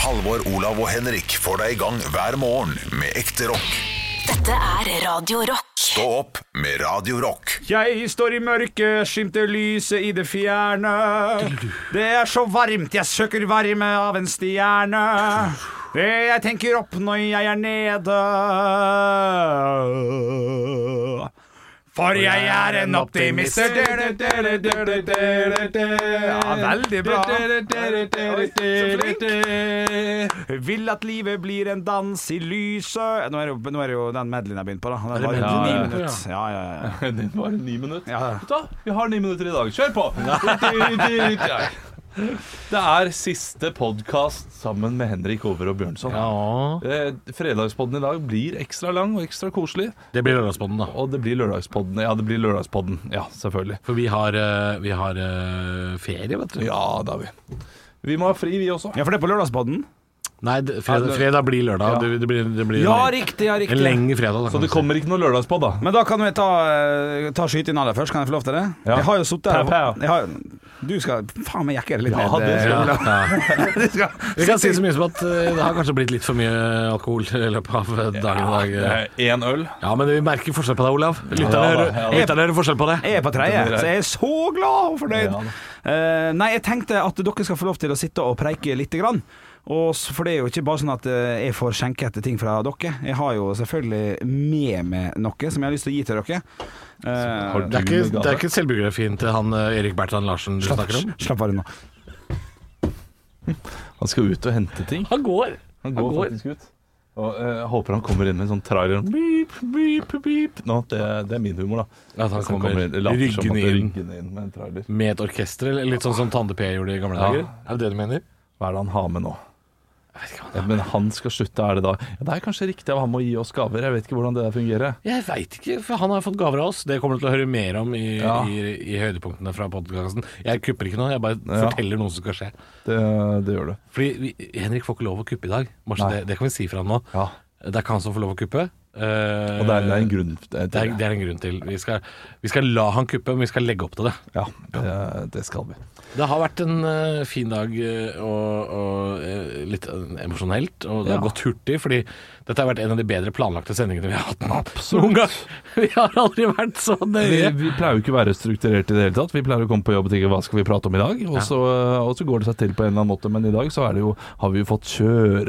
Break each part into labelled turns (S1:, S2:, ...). S1: Halvor, Olav og Henrik får deg i gang hver morgen med ekte rock.
S2: Dette er Radio Rock.
S1: Stå opp med Radio Rock.
S3: Jeg står i mørket, skimter lyset i det fjerne. Det er så varmt, jeg søker varme av en stjerne. Det jeg tenker opp når jeg er nede. For jeg er en optimist. Ja, veldig bra. Oi, så flink. Vil at livet blir en dans i lyset Nå er det jo, nå er det jo den medleyen jeg begynte på, da. Den var jo
S4: medleyen
S3: ni
S4: du begynte på,
S3: minutter. Ja, ja, ja.
S4: Det var ni minutter.
S3: Ja.
S4: Vet du hva? Vi har ni minutter i dag. Kjør på! Det er siste podkast sammen med Henrik Over og Bjørnson.
S5: Ja.
S4: Eh, Fredagspodden i dag blir ekstra lang og ekstra koselig.
S5: Det blir lørdagspodden, da.
S4: Og det blir lørdagspodden. Ja, det blir lørdagspodden. Ja, selvfølgelig.
S5: For vi har, eh, vi har eh, ferie, vet du.
S4: Ja, det har vi. Vi må ha fri, vi også.
S3: Ja, for det er på lørdagspodden.
S5: Nei, det- fredag, fredag blir lørdag. Det, det blir, det blir en,
S3: riktig, ja,
S5: en lengre fredag. Da,
S4: Så
S5: kan
S4: det
S5: man si.
S4: kommer ikke noe lørdagspod, da.
S3: Men da kan vi ta, eh, ta skyting aller først, kan jeg få lov til det?
S4: Ja.
S3: Jeg har jo sittet her
S4: Pow, pow.
S3: jeg har, Du skal faen meg jekke det litt
S4: Ja,
S3: ned.
S4: det
S3: eh,
S4: skal
S3: Olav.
S5: ja.
S3: Du skal-
S5: Vi kan si så mye som at eh, det har kanskje blitt litt for mye alkohol i løpet av eh, dagen i dag. eh.
S4: Én øl.
S5: Ja, men vi merker forskjell på deg, Olav. Lytterne
S4: Ja, da,
S5: hører
S4: ja, da.
S5: lytterne hører forskjell på deg.
S3: Jeg er på tredje, så jeg er så glad og fornøyd.
S4: Ja, da.
S3: Eh, nei, jeg tenkte at dere skal få lov til å sitte og preike lite grann. Og s- for det er jo ikke bare sånn at eh, jeg får skjenke etter ting fra dere. Jeg har jo selvfølgelig med meg noe som jeg har lyst til å gi til dere. Eh,
S4: Har
S5: Det er ikke,
S4: noe gave?
S5: det er ikke selvbiografien til han eh, Erik Bertrand Larsen du snakker om?
S3: slapp av unna.
S4: Han skal ut og hente ting.
S5: Han går.
S4: Han går,
S5: Han går.
S4: faktisk ut. Og eh, jeg håper han kommer inn med en sånn trailer Beep, beep, beep Nå, det, det er min humor, da.
S5: At han
S4: Så
S5: kommer
S4: inn- later som at
S5: ryggende
S4: det er
S5: inn
S4: ryggende inn med en trailer.
S5: med et orkester, eller litt sånn som Tande P gjorde i gamle
S4: Ja.
S5: dager. Er det det du mener?
S4: Hva er det han har med nå? Ja, men han skal slutte, er det da? Ja, det er kanskje riktig av ham å gi oss gaver. Jeg vet ikke hvordan det der fungerer.
S5: Jeg veit ikke, for han har fått gaver av oss. Det kommer du til å høre mer om i,
S4: Ja.
S5: i, i høydepunktene fra podkasten. Jeg kupper ikke noe, jeg bare
S4: Ja.
S5: forteller noe som skal skje.
S4: Det, det gjør du.
S5: Fordi vi, Henrik får ikke lov å kuppe i dag. Bare så
S4: Nei.
S5: det, det kan vi si fra han nå.
S4: Ja.
S5: Det er ikke han som får lov å kuppe. Eh,
S4: Og det er, det er en grunn til det.
S5: det er, det er en grunn til. Vi skal, vi skal la han kuppe, men vi skal legge opp til det.
S4: Ja, det, det skal vi.
S5: Det har vært en eh, fin dag eh, og, og eh, litt eh, emosjonelt, og det har
S4: Ja.
S5: gått hurtig, fordi dette har vært en av de bedre planlagte sendingene vi har hatt noen gang. Vi har aldri vært så
S4: Vi,
S5: nøye.
S4: vi pleier jo ikke å være strukturert i det hele tatt. Vi pleier å komme på jobb og tenke hva skal vi prate om i dag, og så, eh, og så går det seg til på en eller annen måte. Men i dag så er det jo, har vi jo fått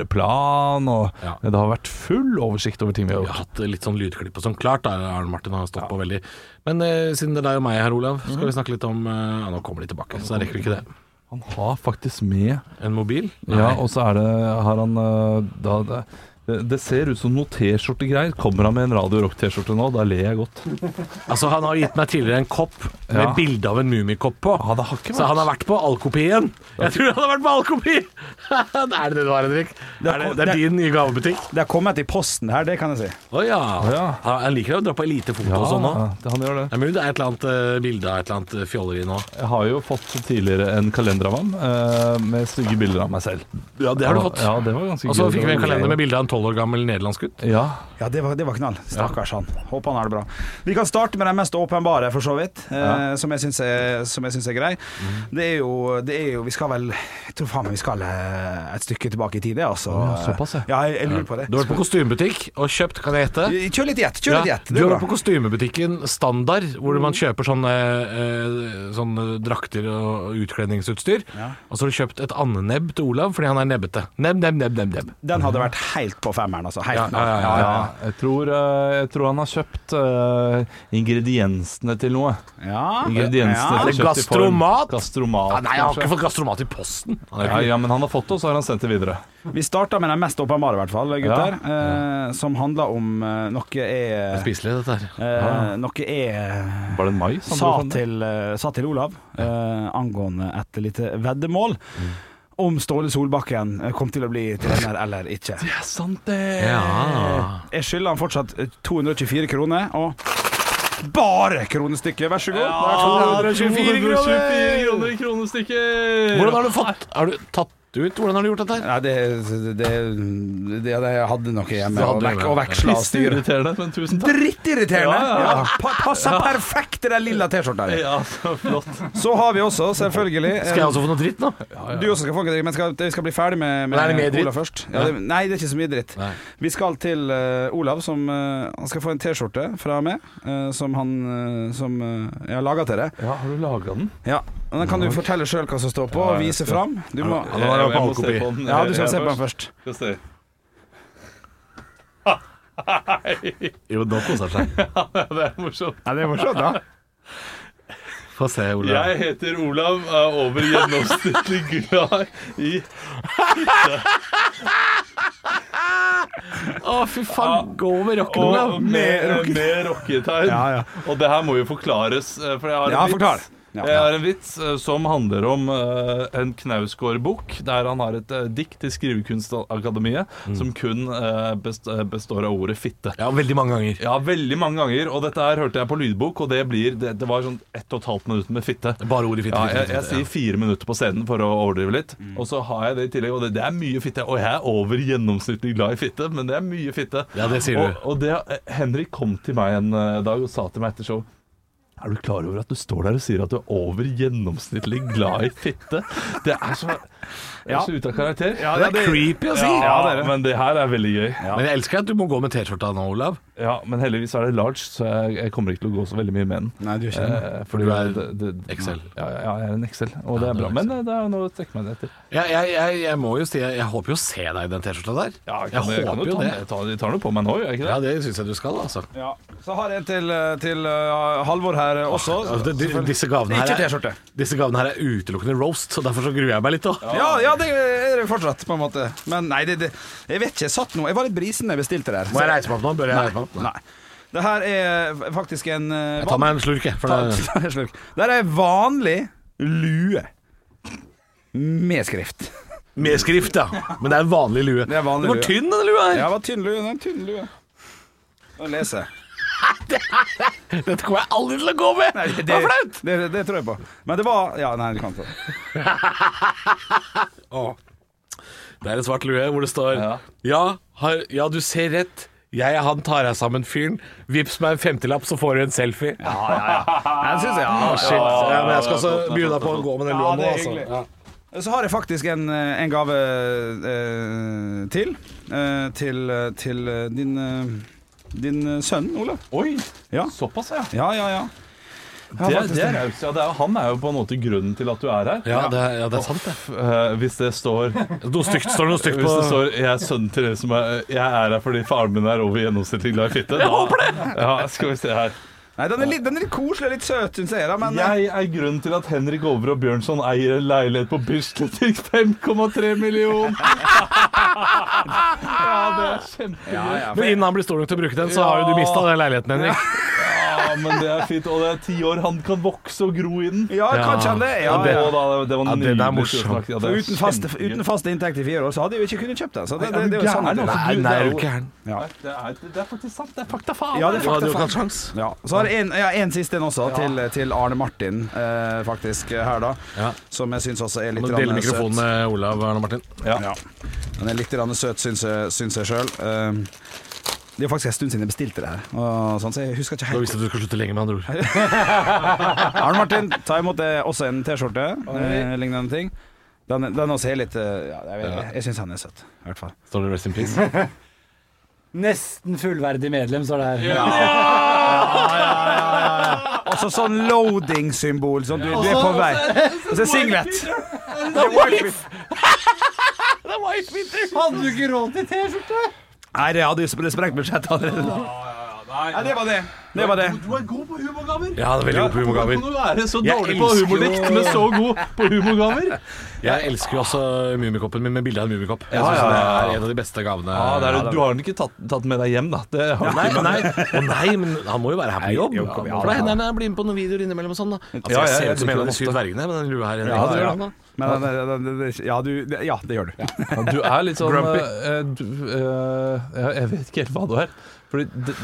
S4: kjøreplan, og
S5: Ja.
S4: det har vært full oversikt over ting vi har
S5: Vi har
S4: gjort.
S5: hatt litt sånn lydklipp og sånn. Klart da, Arne Martin har stått på veldig. Men eh, siden det er deg og meg her, Olav, skal vi snakke litt om eh, Ja, nå kommer de tilbake, så da rekker vi ikke det.
S4: Han har faktisk med
S5: En mobil?
S4: Ja, og så er det har han eh, da, det, det ser ut som noe T-skjortegreier. Kommer han med en Radio Rock-T-skjorte nå? Da ler jeg godt.
S5: Altså, han har gitt meg tidligere en kopp med
S4: Ja.
S5: bilde av en mummikopp på.
S4: Ja, det har ikke
S5: Så han har vært på Alkopien. Jeg tror han har vært på Alkopi! er det det du har, Henrik? Det er, det, det er din nye gavebutikk?
S3: Det har kommet i posten her, det kan jeg si.
S5: Å ja.
S4: ja.
S5: Han- Han liker å dra på elitefoto og sånn nå.
S4: Ja, det- han gjør det.
S5: Det er mulig det er et eller annet eh, bilde av et eller annet eh, fjolleri nå.
S4: Jeg har jo fått tidligere en kalender av ham eh, med stygge bilder av meg selv.
S5: Ja, det har du fått.
S4: Ja, det var ganske
S5: Og så
S4: gøy.
S5: fikk vi en kalender med bilde av en tolv år gammel nederlandsk gutt.
S4: Ja.
S3: Ja, det var, det var knall. Stakkars han. Håper han har det bra. Vi kan starte med den mest åpenbare, for så vidt, eh,
S4: Ja.
S3: som jeg syns er, som jeg syns er grei.
S5: Mhm.
S3: Det, er jo, det er jo Vi skal vel Jeg tror faen meg vi skal eh, et stykke tilbake i tid, det, altså.
S4: Å ja, såpass, ja.
S3: ja. jeg, jeg lurer på det.
S5: Du har vært på kostymebutikk og kjøpt, kan jeg gjette?
S3: Kjør litt gjett, kjør litt
S5: Ja,
S3: gjett.
S5: du
S3: Det
S5: har
S3: er
S5: vært på
S3: bra.
S5: kostymebutikken Standard, hvor man kjøper sånne, eh, sånne drakter og utkledningsutstyr. Og så har du kjøpt et andenebb til Olav fordi han er nebbete. Nebb, nebb, nebb, nebb. nebb.
S3: Den hadde vært helt på femmeren, altså. Helt
S5: Ja, ja, ja,
S3: knall.
S4: Ja, jeg tror, eh, jeg tror han har kjøpt eh, ingrediensene til noe.
S3: Ja.
S4: Ingrediensene
S3: Ah. Ja.
S4: til
S5: Er det
S4: kjøpt i form-
S5: gastromat?
S4: Gastromat,
S5: Ah, nei, jeg har
S4: kanskje.
S5: ikke fått gastromat i posten. Han er jo
S4: ja,
S5: ikke-
S4: ja, men han har fått det, og så har han sendt det videre.
S3: Vi starta med den mest åpenbare, i hvert fall, gutter. Eh, som handler om eh, noe er
S5: Spiselig, dette her.
S3: eh, Noe er
S4: Var det en mais? han
S3: sa
S4: dro fram det?
S3: til, eh, sa til Olav eh, angående et lite veddemål om Ståle Solbakken eh, kom til å bli trener eller ikke.
S4: Det er sant, det!
S5: Eh. Ja.
S3: Jeg skylder han fortsatt eh, 224 kroner, og bare kronestykket, vær så god. Det er 224 kroner!
S4: kroner i kronestykket!
S5: Hvordan har du fått Har du tatt ut? Hvordan har du gjort dette? her?
S3: Nei, det, det, det, det jeg hadde noe hjemme
S5: Det hadde
S3: og,
S5: du
S3: vek,
S5: hjemme.
S3: og veksla og styre.
S4: Irriterende, men tusen takk.
S3: Drittirriterende!
S4: Ja, ja, ja.
S3: Pa, passer perfekt til den lilla T-skjorta di.
S4: Ja, så flott.
S3: Så har vi også, selvfølgelig
S5: Skal jeg også få noe dritt nå?
S3: Du også skal få en dritt, men skal, vi skal bli ferdig med,
S5: Men er det mer
S3: med
S5: dritt?
S3: Olav først. Ja, det, nei, det er ikke så mye dritt.
S5: Nei.
S3: Vi skal til eh, Olav, som eh, han skal få en T-skjorte fra meg, eh, som han eh, som eh, jeg har laga til deg.
S4: Ja, har du laga den?
S3: Ja, og Den kan du fortelle sjøl hva som står på, og vise fram. Du må,
S5: Ja, nå er det på avkopi.
S4: den.
S3: ja, du skal se på den først.
S4: Skal se.
S5: Jo, nå koser han seg.
S4: Ja, det er morsomt.
S3: Ja, det er morsomt, da.
S5: Få se, Olav.
S4: Jeg heter Olav, er over gjennomsnittlig glad i
S5: Å, fy faen. Gå med rocken,
S4: Og
S5: Olav.
S4: med, med rocketegn.
S3: Ja, ja.
S4: Og det her må jo forklares, eh, for jeg har en
S3: Ja,
S4: vits.
S3: forklar. Ja.
S4: Jeg har en vits eh, som handler om eh, en Knausgård-bok, der han har et eh, dikt i Skrivekunstakademiet
S3: Mm.
S4: som kun eh, best, eh, består av ordet 'fitte'.
S5: Ja, veldig mange ganger.
S4: Ja, veldig mange ganger, og dette her hørte jeg på lydbok, og det blir Det, det var sånn ett og et halvt minutt med fitte.
S5: Bare ordet fitte,
S4: Ja,
S5: fitte,
S4: jeg,
S5: fitte,
S4: jeg
S5: fitte, ja. Mm.
S4: sier fire minutter på scenen for å overdrive litt, og så har jeg det i tillegg, og det, det er mye fitte. Og jeg er over gjennomsnittlig glad i fitte, men det er mye fitte.
S5: Ja, det sier
S4: og,
S5: du.
S4: og det, eh, Henrik kom til meg en eh, dag og sa til meg etter show er du klar over at du står der og sier at du er over gjennomsnittlig glad i fitte? Det er så, det er
S3: Ja.
S4: så ute av karakter.
S3: Ja,
S5: Det er creepy å si.
S4: Ja,
S3: det er det.
S4: men det her er veldig gøy.
S5: Men jeg elsker at du må gå med T-skjorta nå, Olav.
S4: Ja, Men heldigvis er det large, så jeg, jeg kommer ikke til å gå så veldig mye med den.
S3: Nei, du er ikke det.
S4: Eh, fordi
S5: Du er
S4: det- det-
S5: Excel.
S4: Ja, ja, jeg er en Excel, og det
S5: Ja,
S4: er
S5: du er
S4: bra. Men eh, det er jo noe å strekke meg etter.
S5: Jeg, jeg, jeg, jeg må jo si jeg, jeg håper jo å se deg i den T-skjorta der. jeg håper jo det.
S4: Jeg tar, de tar noe på meg nå, gjør jeg ikke det?
S5: Ja, det syns jeg du skal, altså.
S3: Ja. Så har jeg en til, eh, til eh, Halvor her eh, også.
S5: Altså, det- de- disse gavene her
S3: Ikke
S5: er-
S3: T-skjorte.
S5: Disse gavene her er utelukkende roast, så derfor så gruer jeg meg litt. da
S3: Ja, ja, det er det fortsatt, på en måte. Men nei, det, det, jeg vet ikke. Jeg satt nå Jeg var litt brisen da jeg bestilte det her.
S5: Må jeg reise meg opp nå? Bør jeg reise meg opp?
S3: Nei. Det her er faktisk en eh,
S5: Jeg tar meg en slurk, jeg. For det,
S3: Ta en slurk. Det her er vanlig lue. Med skrift.
S5: med skrift, ja. Men det er en vanlig lue.
S3: er en vanlig lue.
S5: Den var tynn, den lua her.
S3: Ja, det var tynn lue. Det er en tynn lue. Nå leser jeg.
S5: Dette kommer jeg aldri til å gå med! Det er flaut!
S3: Det, det, tror jeg på. Men det var Ja, nei, du kan ikke.
S5: Det er en svart lue hvor det står
S4: Ja.
S5: Ja, har, ja du ser rett. Jeg er han tar deg sammen-fyren. Vips meg en femtilapp, så får du en selfie. Ja,
S3: Jeg synes jeg, ja,
S5: shit. Ja, men jeg skal også by deg på å gå med den lua
S3: Ja,
S5: nå,
S3: det er
S5: altså.
S3: hyggelig.
S5: Ja.
S3: Så har jeg faktisk en, en gave eh, til. Eh, til til eh, din, eh, din sønn, Olav.
S4: Oi,
S3: Ja.
S4: såpass, ja.
S3: Ja, ja, ja. Jeg har
S4: Det,
S3: faktisk
S4: det er raust. Ja, det er- han er jo på en måte grunnen til at du er her.
S5: Ja, det er, ja, det er sant, det.
S4: F- eh, hvis det står
S5: Noe stygt står det noe stygt
S4: Hvis det
S5: på
S4: står 'Jeg er sønnen til dere som er Jeg er her fordi faren min er over gjennomsnittlig glad i fitte', Jeg håper det! Ja, skal vi se her.
S3: Nei, den er litt, den er litt koselig og litt søt, syns jeg. Da, men eh,
S4: Jeg er grunnen til at Henrik Over og Bjørnson eier en leilighet på Bislett til 5,3 millioner! Ah, Ja, det er kjempegøy.
S5: Men innen han blir stor nok til å bruke den, så har jo du mista den leiligheten, Henrik.
S4: Ja, Ah, men det er fint. Og det er ti år. Han kan vokse og gro i den.
S3: ja,
S5: Ja.
S3: kanskje han det. Ja,
S4: Å,
S3: ja,
S4: da, det, det var
S5: Ja, det der er
S4: nydelig
S5: morsomt.
S4: snakket. Ja, det
S3: For
S4: er
S3: uten, fast,
S4: kjempegøy.
S3: uten fast inntekt i fire år, så hadde jeg jo ikke kunnet kjøpt den. Så det,
S4: Nei,
S3: det,
S4: er du
S3: det er jo
S4: gæren,
S3: sannheten.
S4: altså?
S5: Nei, nei, er du gæren?
S3: Ja.
S4: Nei, det, er, det er faktisk sant. Det er fakta faen.
S3: Ja, det er
S5: Du hadde
S3: fakta
S5: jo ikke
S3: faen.
S5: hatt sjans.
S3: Ja. Så har jeg en, ja, en siste en også, til, eh, til Arne Martin, eh, faktisk, her da.
S5: Ja.
S3: Som jeg syns også er litt
S5: Må
S3: grann
S5: dele mikrofonen
S3: søt.
S5: med Olav Arne Martin.
S3: Ja. Den er litt grann søt, syns jeg- syns jeg sjøl. Det er faktisk en stund siden jeg bestilte det her, og sånn, så jeg husker ikke
S5: Da
S3: helt.
S5: visste jeg at du skulle slutte lenge, med andre ord.
S3: Arne Martin, ta imot det, også en T-skjorte, eh, lignende ting. Den, den også er litt eh, ja, Jeg, vet ikke. jeg syns han er søt, i hvert fall.
S5: Står det 'Rest in Peace'?
S6: Nesten fullverdig medlem, står det her.
S3: Og så sånn loading-symbol. Sånn, du, du er på vei. Og så singlet.
S6: Hadde du ikke råd til T-skjorte?
S3: Nei, det hadde jo det sprengt budsjettet allerede. Nei, det var det. Det var det.
S4: Du er god på humorgaver.
S5: Ja, det er veldig god på
S4: Hvordan
S5: humorgaver.
S4: kan du være så
S5: Jeg
S4: dårlig på
S5: elsker jo-
S4: humordikt, men så god på humorgaver?
S5: Jeg elsker jo også Mummikoppen min med bilde av en mummikopp. Jeg
S4: Ja,
S5: synes
S4: ja, ja.
S5: Det er en av de beste gavene.
S4: Ja, det er, det. du har den ikke tatt, tatt med deg hjem, da. Det har du
S5: Nei,
S4: ikke.
S5: nei. Å, nei, men han må jo være her på jobb.
S3: jo, kom igjen.
S5: For da hender han jeg blir med på noen videoer innimellom og sånn. Da. Altså,
S4: Ja,
S5: jeg
S4: ja,
S5: ser
S4: jeg
S5: ut som
S4: liker
S5: en av de
S4: det
S5: syv
S4: ofte.
S5: dvergene med den lua her.
S3: Ja,
S5: Henrik.
S3: det gjør
S5: han, da.
S3: Men, det- det- det- det- ja, du, det- ja, det gjør du.
S4: Ja, Du er litt sånn
S5: Grumpy.
S4: eh, du, eh, Jeg jeg vet ikke helt hva du er. Fordi d-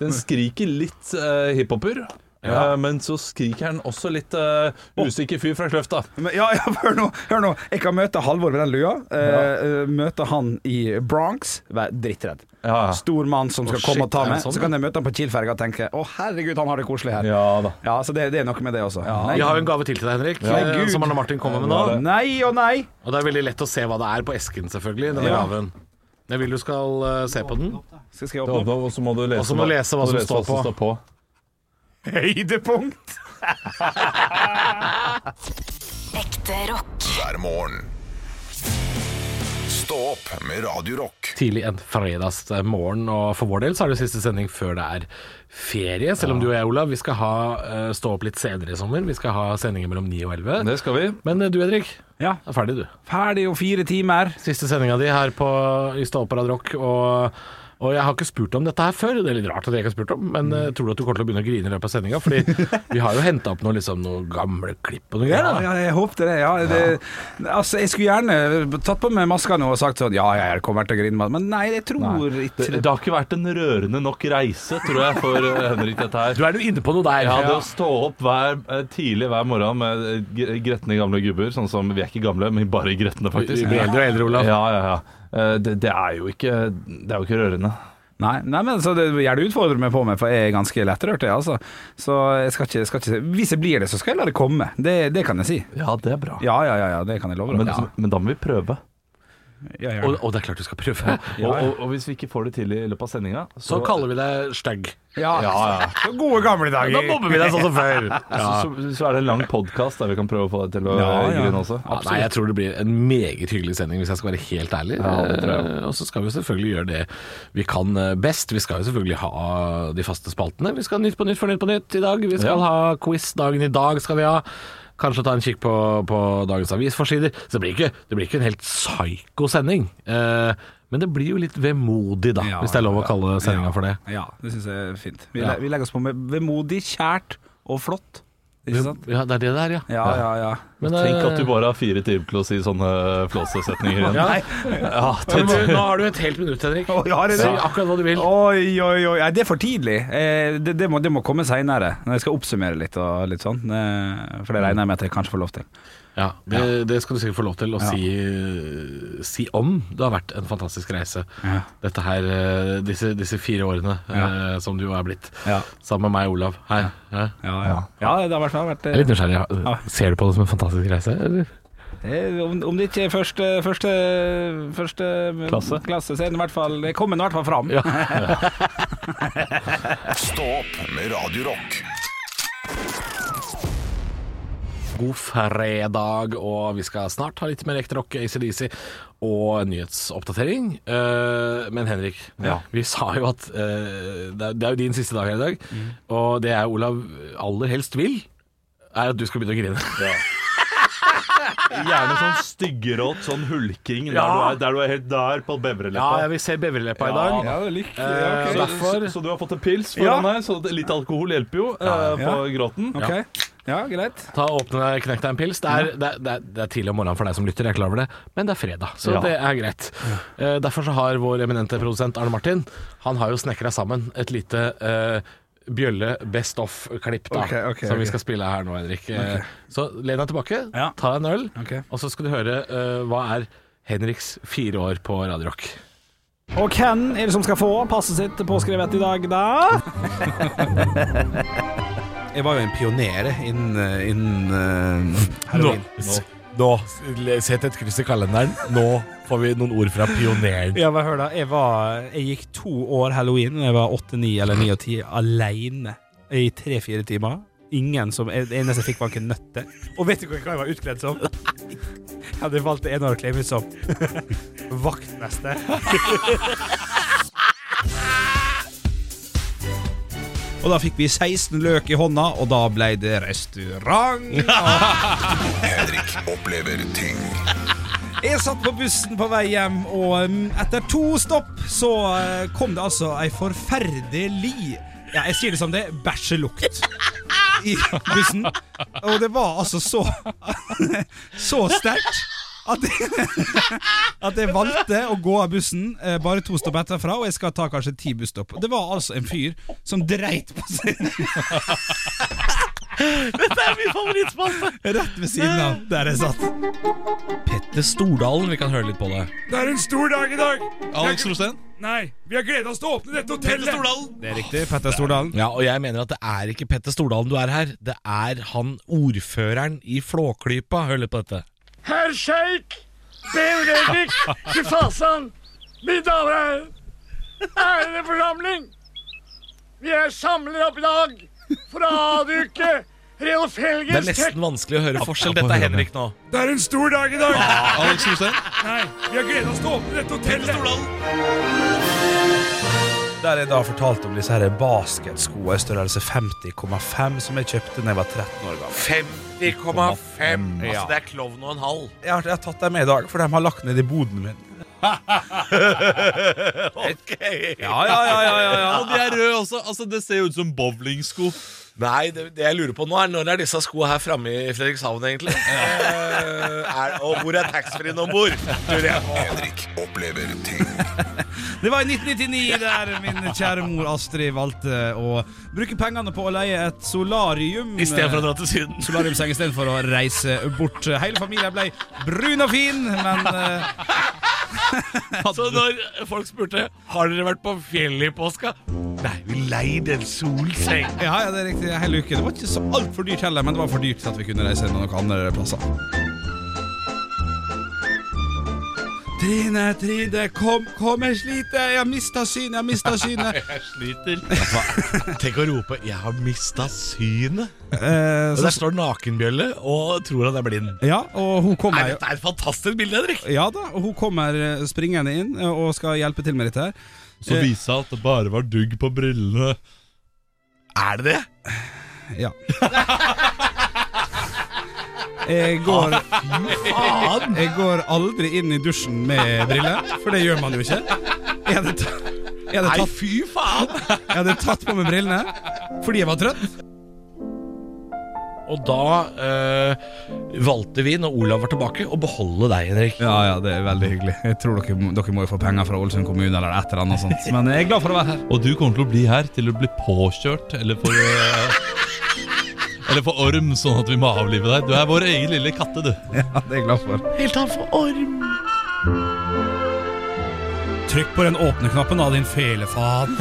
S4: den skriker litt eh, hiphoper, Eh, men så skriker han også litt eh, usikker fyr fra Kløfta.
S3: Men, ja, ja, hør nå, hør nå. Jeg kan møte Halvor med den lua. Eh, eh, møte han i Bronx. Vær drittredd.
S4: Ja.
S3: Stor mann som skal
S4: Å,
S3: komme
S4: shit,
S3: og ta
S4: er
S3: med.
S4: det sånn,
S3: så kan jeg møte han på Kiel-ferga og tenke å herregud, han har det koselig her.
S4: Ja da.
S3: Ja, Så det, det er noe med det også. Nei.
S5: Vi har jo en gave til til deg, Henrik,
S3: Ja.
S5: eh, som Arne Martin kommer med nå.
S3: Nei og nei.
S5: Og det er veldig lett å se hva det er på esken, selvfølgelig. Denne
S3: Ja.
S5: gaven. Jeg vil du skal eh, se på den.
S3: Skal skal jeg
S4: Det
S3: åpne opp?
S4: åpner, og så må du lese,
S5: Og så må du lese hva som står på.
S3: Høydepunkt!
S2: Ekte rock.
S1: hver morgen. Stå opp med Radio Rock.
S5: Tidlig en fredagsmorgen, og for vår del så er det siste sending før det er ferie. Selv om du og jeg, Olav, vi skal ha, eh, stå opp litt senere i sommer. Vi skal ha sendinger mellom 9 og 11.
S4: Det skal vi.
S5: Men eh, du, Henrik,
S3: Ja.
S5: er ferdig, du.
S3: Ferdig om fire timer.
S5: Siste sendinga di her på, i Stå opp på Radio Rock. Og, og jeg har ikke spurt om dette her før. Det er litt rart at jeg ikke har spurt om, men eh, tror du at du kommer til å begynne å grine i løpet av sendinga? Fordi vi har jo henta opp noe, liksom, noen gamle klipp og noe greier.
S3: Ja,
S5: da.
S3: ja, jeg håpte det. Ja. det Altså, jeg skulle gjerne tatt på meg maska nå og sagt sånn Ja, jeg kommer til å grine, men nei, jeg tror
S4: Det,
S3: ikke
S4: det har ikke vært en rørende nok reise, tror jeg, for eh, Henrik, dette her.
S5: Du er jo inne på noe der.
S4: Ja, det å stå opp hver, eh, tidlig hver morgen med eh, gre- gretne gamle gubber, sånn som vi er ikke gamle, men bare gretne,
S5: Vi
S4: faktisk.
S5: blir eldre og eldre, Olav.
S4: Ja, ja, ja. Eh, Det, det er jo ikke Det er jo ikke rørende.
S3: Nei, nei, men så det gjør du utfordrer meg på meg, for jeg er ganske lettrørt, jeg, altså. Så jeg skal ikke, skal ikke Hvis jeg blir det, så skal jeg la det komme. Det, det kan jeg si.
S4: Ja, det er bra.
S3: Ja, ja, ja, ja det kan jeg love
S4: Men, altså,
S3: deg. Ja,
S4: men da må vi prøve.
S3: ja, ja.
S5: Og, og det er klart du skal prøve.
S4: Og, og, og hvis vi ikke får det til i løpet av sendinga,
S5: Så kaller vi deg stygg.
S3: ja,
S4: ja, ja.
S3: Så Gode gamle
S5: Da
S3: dager.
S5: mobber vi deg sånn som før. Ja.
S4: Så, så, så er det en lang podkast der vi kan prøve å få deg til å
S3: Ja, ja.
S4: grine også.
S5: Ja, nei, jeg tror det blir en meget hyggelig sending, hvis jeg skal være helt ærlig. Eh, og så skal vi selvfølgelig gjøre det vi kan eh, best. Vi skal jo selvfølgelig ha de faste spaltene. Vi skal ha Nytt på nytt for Nytt på nytt i dag. Vi skal
S4: Ja.
S5: ha quiz dagen i dag. skal vi ha Kanskje ta en kikk på, på dagens avisforsider. Så det blir ikke, det blir ikke en helt psyko sending. Eh, men det blir jo litt vemodig, da,
S3: Ja,
S5: hvis det er lov å
S3: ja.
S5: kalle sendinga for det.
S3: Ja, det syns jeg er fint. Vi,
S5: Ja.
S3: le, vi legger oss på med vemodig, kjært og flott. Ikke sant?
S5: Ja, det er det det er, ja.
S3: Ja, ja, ja.
S5: Men,
S4: Tenk
S5: eh,
S4: at du bare har fire timer til å si sånne flåsesetninger igjen.
S5: Ja.
S4: Ja,
S5: Men
S4: det-
S5: du, nå har du et helt minutt, Henrik.
S3: Å, jeg har det,
S5: Si
S3: ja.
S5: akkurat hva du vil.
S3: Oi, oi, oi. Nei, det er for tidlig. Eh, det, det, må, det må komme seinere, når jeg skal oppsummere litt og litt sånn. Eh, for det regner jeg med at jeg kanskje får lov til.
S5: Ja, det, det skal du sikkert få lov til å si, si om. Det har vært en fantastisk reise,
S3: Ja.
S5: Dette her, eh, disse, disse fire årene
S3: Ja.
S5: eh, som du er blitt.
S3: Ja.
S5: Sammen med meg, Olav. Hei. Ja.
S3: Ja, ja. ja det har i hvert fall vært
S5: Jeg er
S3: eh,
S5: litt nysgjerrig. ja. Ser du på det som en fantastisk reise? Eller?
S3: eh, om, om det ikke er første, første, første eh,
S4: Klasse.
S3: så er den i hvert fall Det kommer den i hvert fall fram.
S1: Stå opp med Radio Rock.
S5: God fredag, og vi skal snart ha litt mer ekte rock, ACDC og en nyhetsoppdatering. Eh, men Henrik,
S4: Ja.
S5: vi sa jo at eh, det, er, det er jo din siste dag her i dag, og det jeg og Olav aller helst vil, er at du skal begynne å grine.
S4: Gjerne sånn styggerått, sånn hulking der,
S5: Ja.
S4: du er, der du er helt der på
S5: Ja,
S4: bevreleppet.
S5: jeg vil se beverleppa
S4: Ja,
S5: i dag.
S3: Ja, lykke.
S5: Eh,
S3: Ja,
S5: så
S3: ok.
S5: derfor
S4: Så du har fått en pils foran deg, så litt alkohol hjelper jo eh, på gråten.
S3: Ok. Ja, greit.
S5: ta og åpne deg, knekk deg en pils. Det er, det, er, det, er, det er tidlig om morgenen for deg som lytter, jeg er klar over det, men det er fredag, så
S4: Ja.
S5: det er greit. Eh, derfor så har vår eminente produsent Arne Martin Han har jo snekra sammen et lite eh, Bjølle best of-klipp da
S3: Ok, ok,
S5: som vi
S3: ok.
S5: skal spille her nå, Henrik. Eh, Så len deg tilbake,
S3: Ja.
S5: ta deg en øl,
S3: Ok.
S5: og så skal du høre eh, hva er Henriks fire år på Radio Rock.
S3: Og hvem er det som skal få passet sitt påskrevet i dag, da?
S7: Jeg var jo en pioner innen, innen eh, heroin.
S5: Nå sett et kryss i kalenderen. Nå får vi noen ord fra pioneren.
S7: Ja, men hør da, jeg, var, jeg gikk to år halloween da jeg var 8, 9 eller 9 og 10 alene i 3-4 timer. Ingen som, Det eneste jeg fikk, var ikke nøtter. Og vet du hva jeg var utkledd som? Jeg hadde valgt det ene året å kle meg ut som vaktmester. Og da fikk vi 16 løk i hånda, og da ble det restaurant.
S1: Henrik opplever ting
S7: Jeg satt på bussen på vei hjem, og
S3: mm,
S7: um, etter to stopp så eh, kom det altså ei forferdelig Ja, jeg sier det som det bæsjelukt i bussen. Og det var altså så Så sterkt
S3: At jeg, at jeg valgte å gå av bussen eh, bare to stopp etterfra, og jeg skal ta kanskje ti busstopp. Det var altså en fyr som dreit på seg
S5: Det er min favorittspalte!
S3: rett ved siden av der jeg satt.
S8: Petter Stordalen, vi kan høre litt på det.
S3: Det er en stor dag i dag!
S8: Alex Rosén.
S3: Nei, vi har gleda oss til å åpne dette hotellet! Petter Stordalen! Det er riktig. Petter Stordalen.
S8: Ja, og jeg mener at det er ikke Petter Stordalen du er her. Det er han ordføreren i Flåklypa. Hør litt på dette.
S9: Herr sjeik, Ben Reddik, Kifasan, mine damer og herrer. Ærede forsamling. Vi er samlet opp i dag for å avduke Reolf
S8: Det er
S9: Helges
S8: nesten vanskelig å høre forskjell. Dette er Henrik nå.
S3: Det er en stor dag i dag!
S8: Ah, Alex Rosén.
S3: Nei, vi har gleda oss til å åpne dette hotellet! Der jeg da fortalte om disse her basketskoene i størrelse 50,5 som jeg kjøpte da jeg var 13 år gammel.
S8: 50,5. Altså, det er klovn og en halv.
S3: Jeg har, jeg har tatt dem med i dag, for de har lagt ned i boden min.
S8: Ja, ja, ja, ja, ja,
S10: Og de er røde også. Altså, det ser jo ut som bowlingsko.
S8: Nei, det, det jeg lurer på nå er når er disse skoene her framme i Fredrikshavn, egentlig? Eh, er, og hvor er taxfree-en om bord?
S1: Henrik opplever ting.
S3: Det var i 1999 der min kjære mor Astrid valgte å bruke pengene på å leie et solarium.
S8: å dra til Syden.
S3: solariumseng istedenfor å reise bort. Hele familien ble brun og fin, men eh,
S8: Så når folk spurte Har dere vært på fjellet i påska Nei, vi leide en solseng
S3: ja, ja, det er riktig. Hele uken. Det var ikke så altfor dyrt heller, men det var for dyrt til at vi kunne reise noen andre plasser. Trine, Trine, kom, kom, jeg sliter. Jeg har mista synet, jeg har mista synet.
S8: Tenk å rope Jeg har mistet synet
S3: Eh,
S8: Og
S3: så,
S8: der står nakenbjølle Og tror han er blind
S3: ja, og hun
S8: Nei,
S3: kommer jo
S8: dette er et fantastisk bilde, Henrik
S3: Ja da, og hun kommer eh, springende inn eh, og skal hjelpe til med dette her.
S10: Så viste det seg at det bare var dugg på brillene.
S8: Er det det?
S3: Ja. Jeg går, jeg går aldri inn i dusjen med briller, for det gjør man jo ikke. Jeg hadde, ta, jeg hadde,
S8: Nei,
S3: tatt,
S8: fy faen
S3: jeg hadde tatt på meg brillene fordi jeg var trøtt.
S8: Og da eh, valgte vi Når Olav var tilbake Å beholde deg, Henrik
S3: Ja, ja, det er veldig hyggelig. Jeg tror dere, dere må jo få penger fra Ålesund kommune eller et eller annet sånt. Men jeg er glad for å være her.
S10: Og du kommer til å bli her til du blir påkjørt eller for eh, Eller for orm, sånn at vi må avlive deg. Du er vår egen lille katte, du.
S3: Ja, det er jeg glad for.
S8: Helt an for orm
S3: Trykk på den åpne knappen da, din felefaen.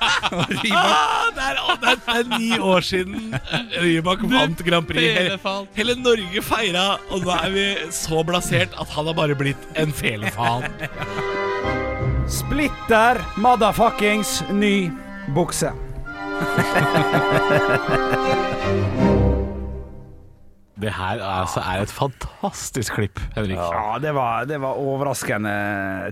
S8: ah, det, er, å, det, er, det er ni år siden Rybak vant Grand Prix. Hele,
S10: felefan.
S8: hele Norge feira, og nå er vi så blasert at han har bare blitt en felefan.
S11: Splitter motherfuckings ny bukse.
S5: Det her altså, er et fantastisk klipp, Henrik.
S11: Ja, det var, det var overraskende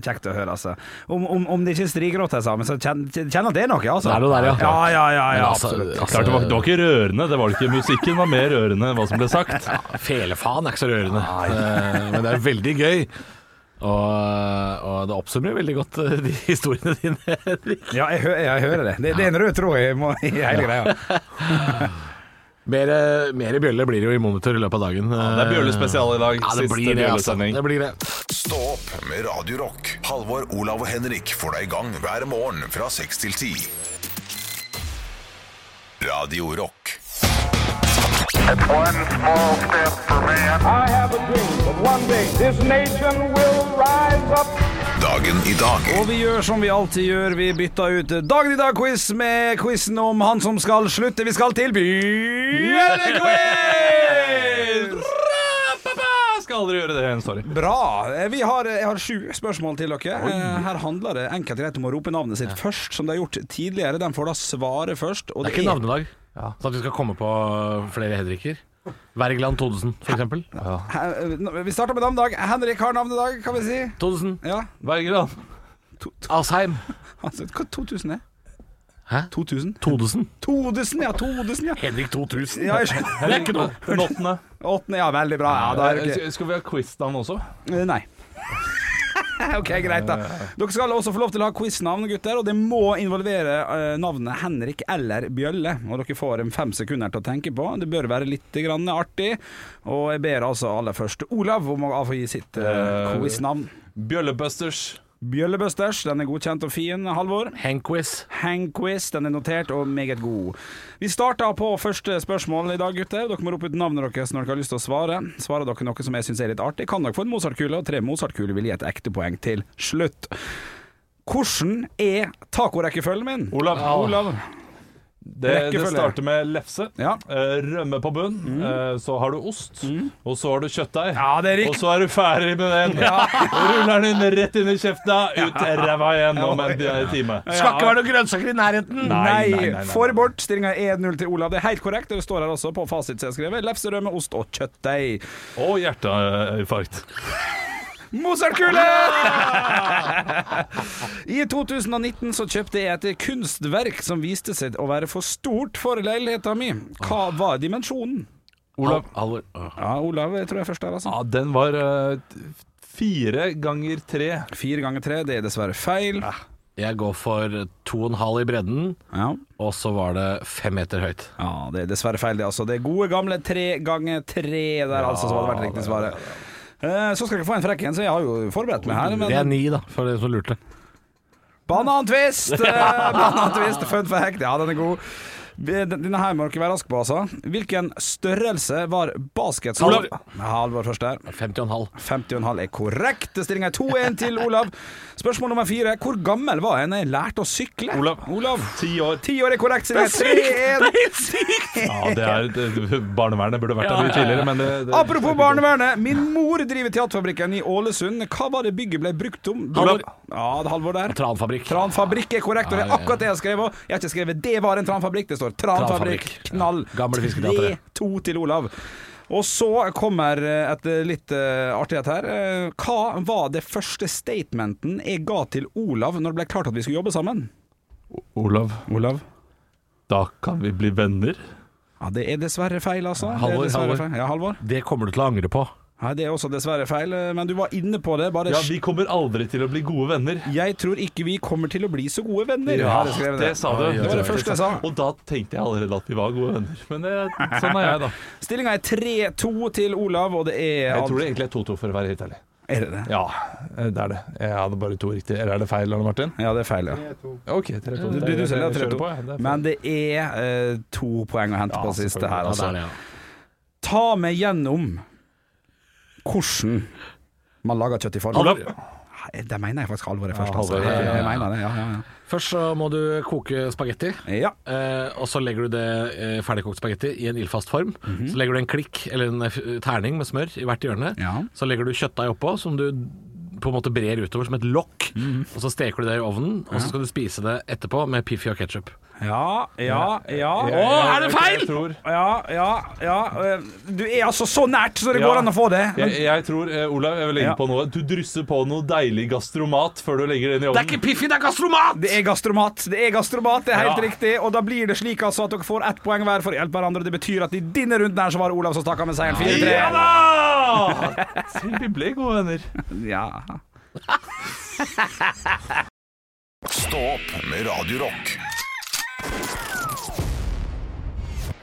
S11: kjekt å høre, altså. Om, om, om det ikke er strigråt jeg sa, men så kjenner, kjenner at det er noe, altså.
S5: Det er noe der, ja.
S11: Ja, ja, ja, ja
S5: Altså,
S11: absolutt.
S5: altså,
S4: Klart det var, det var ikke rørende. Det var det ikke. Musikken var mer rørende enn hva som ble sagt.
S5: Felefaen er ikke så rørende, Eh, men det er veldig gøy. Og, og det oppsummerer veldig godt eh, de historiene dine, Henrik.
S11: Ja, jeg, hø jeg hører det. det. Det er en rød tråd i, må- i hele greia.
S5: Mer, mer bjølle blir det jo i monitor i løpet av dagen.
S4: Det er bjøllespesial i dag.
S5: Ja, det blir det, altså.
S4: bjøllesending.
S5: Det blir det.
S1: Stå opp med Radio Rock. Halvor, Olav og Henrik får deg i gang hver morgen fra 6 til 10. Radio Rock.
S9: I have a dream that one day this nation will rise up.
S1: Dagen i dag.
S11: Og vi gjør som vi alltid gjør, vi bytter ut Dagen i dag-quiz med quizen om han som skal slutte. Vi skal til Bjørnequiz!
S4: Skal aldri gjøre det igjen, sorry.
S11: Bra. Eh, Vi har, jeg har sju spørsmål til dere. Eh, Her handler det enkelt og greit om å rope navnet sitt først, som de har gjort tidligere. De får da svare først. Og
S5: Det er ikke navnedag. Så at vi skal komme på flere Henriker. Wergeland Todesen, for eksempel.
S11: He- eh, Vi starter med navnedag. Henrik har navnedag, kan vi si.
S5: Todesen.
S11: Ja,
S4: Bergeland.
S5: Asheim.
S11: altså, hva 2000 er?
S5: Hæ?
S11: 2000?
S5: Todesen.
S11: 2000, ja. 2000, ja.
S5: Henrik 2000.
S11: Ja, jeg skjønner.
S5: Det er ikke noe.
S4: Den åttende. Eh,
S11: Åttende, ja, veldig bra. Ja, da er det
S4: Skal vi ha quiz-navn også?
S11: ikke Nei.
S3: Eh, ok, greit da Dere skal også få lov til å ha quiznavn, gutter, og det må involvere eh, navnet Henrik eller Bjølle. Og dere får en fem sekunder til å tenke på. Det bør være litt grann artig. Og jeg ber altså aller først Olav om å få gi sitt uh,
S4: Eh,
S3: quiznavn.
S4: Bjøllebusters.
S3: Bjøllebusters, den er godkjent og fin, Halvor. Hangquiz. Hangquiz, den er notert og meget god. Vi starter på første spørsmål i dag, gutter. Dere må rope ut navnet deres når dere har lyst til å svare. Svarer dere noe som jeg syns er litt artig, kan dere få en Mozart-kule, og tre Mozart-kuler vil gi et ekte poeng til slutt. Hvordan er tacorekkefølgen min?
S4: Olav.
S3: Olav.
S4: Det, det
S3: Rekkefølge.
S4: starter med lefse, eh, rømme på bunn,
S5: Mm.
S4: eh, så har du ost, og så har du kjøttdeig. Og så er du ferdig med den. Og ruller den inn rett inn i kjefta, ut til ræva igjen om en eh, time.
S5: Skal ikke være noen grønnsaker i nærheten!
S3: Nei, for bort. Stillinga er 1-0 til Olav. Det er helt korrekt, og det står her også på fasit som jeg har skrevet. Lefserømme, ost og kjøttdeig.
S4: Og hjerteinfarkt.
S3: Mozartkule! I 2019 så kjøpte jeg et kunstverk som viste seg å være for stort for leiligheten min. Hva var dimensjonen?
S4: Olav.
S3: Ja, Olav tror jeg først der, altså.
S4: Ja, den var eh, fire ganger tre.
S3: Fire ganger tre, det er dessverre feil.
S5: Jeg går for to og en halv i bredden, og så var det fem meter høyt.
S3: Ja, det er dessverre feil, det, altså. Det er gode gamle tre ganger tre der, altså, som hadde vært riktig svaret. Eh, Så skal dere få en frekk en, så jeg har jo forberedt meg her.
S5: Det er
S3: Men
S5: ni, da, for dere som lurte.
S3: Banantvist! Eh, Banantvist, fun fact. Ja, den er god. Den- Denne her må dere være raske på, altså. Hvilken størrelse var baskets
S5: Olav.
S3: Halvor først der.
S5: 50,5.
S3: 50,5 er korrekt. Det Stillinga er 2-1 til Olav. Spørsmål nummer fire. Hvor gammel var jeg da jeg lærte å sykle? Olav.
S4: Ti år.
S3: Ti år er korrekt. Stillinga er 3-1.
S5: helt sykt!
S4: Ja, det er, det, barnevernet burde vært der mye tidligere, men det, det
S3: Apropos barnevernet. Min mor driver teaterfabrikken i Ålesund. Hva var det bygget ble brukt om?
S5: Halvor.
S3: Ja, det er Halvor der.
S5: Tranfabrikk.
S3: Tranfabrikk er korrekt, og det er akkurat det jeg har skrevet. Jeg har ikke skrevet 'det var en tranfabrikk', det står 'tranfabrikk'.
S5: Tranfabrikk.
S3: Knall.
S5: Gamle fisketeatret.
S3: 3-2 til Olav. Og så kommer eh, et eh, litt eh, artighet her. Eh, Hva var det første statementen jeg ga til Olav når det ble klart at vi skulle jobbe sammen?
S4: Olav,
S3: Olav?
S4: da kan vi bli venner.
S3: Ja, det er dessverre feil, altså. Det er
S5: Halvor,
S3: dessverre
S5: Halvor.
S3: feil. Ja, Halvor.
S5: Det kommer du til å angre på.
S3: Nei, det er også dessverre feil, eh, men du var inne på det. Bare
S4: Ja, vi kommer aldri til å bli gode venner.
S3: Jeg tror ikke vi kommer til å bli så gode venner.
S4: Ja,
S3: har jeg skrevet
S4: det sa du.
S3: Det var det første jeg sa.
S4: Og da tenkte jeg allerede at vi var gode venner. Men det, sånn er jeg, da.
S3: Stillinga er 3-2 til Olav, og det er
S4: Jeg tror det egentlig er 2-2 for å være helt ærlig.
S3: Er det det?
S4: Ja, eh, det er det. Jeg hadde bare to riktige. Eller er det feil, Arne Martin?
S3: Ja, det er feil, ja.
S4: OK, 3-2.
S3: Det blir du selv, ja,
S4: Jeg kjører
S3: 3-2.
S4: på, jeg. Det er feil.
S3: Men det er eh, to poeng å hente på siste her,
S5: Ja, det
S3: altså.
S5: er det, ja.
S3: Ta meg gjennom hvordan man lager kjøttdeig.
S5: Olav.
S3: Det mener jeg faktisk alvoret først.
S4: Ja,
S3: Altså.
S4: Halvor, ja,
S3: Jeg,
S4: ja,
S3: jeg mener det, ja, ja, ja.
S5: Først så må du koke spagetti.
S3: ja.
S5: Eh, og så legger du det eh, ferdigkokt spagetti i en ildfast form. Så legger du en klikk, eller en eh, terning med smør i hvert hjørne.
S3: Ja.
S5: Så legger du kjøttdeig oppå, som du på en måte brer utover som et lokk. Og så steker du det i ovnen, og så skal du spise det etterpå med Piffi og ketsjup.
S3: Ja, ja, ja.
S4: Jeg-
S5: Å, er det
S4: jeg-
S5: feil?
S4: Jeg tror,
S3: Ja, ja, ja. Eh, Du er altså så nært, så det
S4: Ja.
S3: går an å få det.
S4: jeg, jeg tror eh, Olav, jeg vil legge
S3: Ja.
S4: på noe. Du drysser på noe deilig gastromat før du legger det inn i
S5: Det er
S4: ovnen.
S5: ikke Piffi, det er gastromat!
S3: Det er gastromat, det er gastromat, det er helt
S4: Ja.
S3: riktig. Og da blir det slik altså at dere får ett poeng hver for å hjelpe hverandre. Det betyr at i denne runden her så var det Olav som stakk av med seieren 4-3.
S4: Ja da! Selv vi ble gode venner.
S3: Ja.
S1: Stå opp med Radio Rock.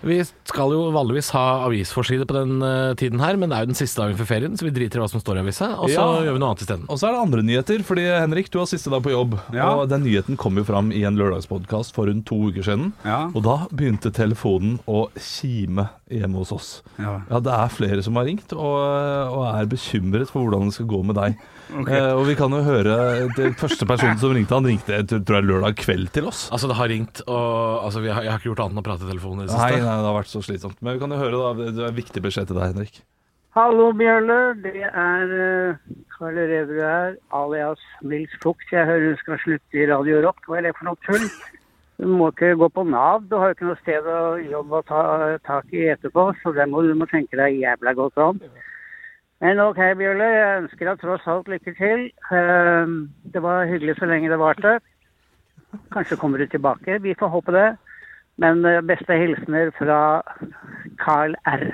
S5: Vi skal jo vanligvis ha avisforside på den eh, tiden her, men det er jo den siste dagen før ferien, så vi driter i hva som står i avisa, og
S4: Ja.
S5: så gjør vi noe annet isteden.
S4: Og så er det andre nyheter, fordi Henrik, du har siste dag på jobb.
S3: Ja.
S4: Og den nyheten kom jo fram i en lørdagspodkast for rundt to uker siden.
S3: Ja.
S4: Og da begynte telefonen å kime hjemme hos oss.
S3: Ja.
S4: det er flere som har ringt og, og er bekymret for hvordan det skal gå med deg. Eh, og vi kan jo høre Den første personen som ringte, han ringte jeg tror jeg lørdag kveld til oss.
S5: Altså, det har ringt, og altså, vi har, jeg har ikke gjort annet enn å prate i telefonen i det
S4: Nei, nei,
S5: siste.
S4: det har vært så slitsomt. Men vi kan jo høre, da. Det er en viktig beskjed til deg, Henrik.
S12: Hallo, Bjørle. Det er eh, Karl Reverud her, alias Nils Fuchs. Jeg hører du skal slutte i Radio Rock. Hva er det for noe tull? Du må ikke gå på Nav. Du har jo ikke noe sted å jobbe å ta tak i etterpå, så det må du må tenke deg jævla godt om. Men OK, Bjørle. Jeg ønsker deg tross alt lykke til. Eh, Det var hyggelig så lenge det varte. Kanskje kommer du tilbake. Vi får håpe det. Men eh, beste hilsener fra Carl R.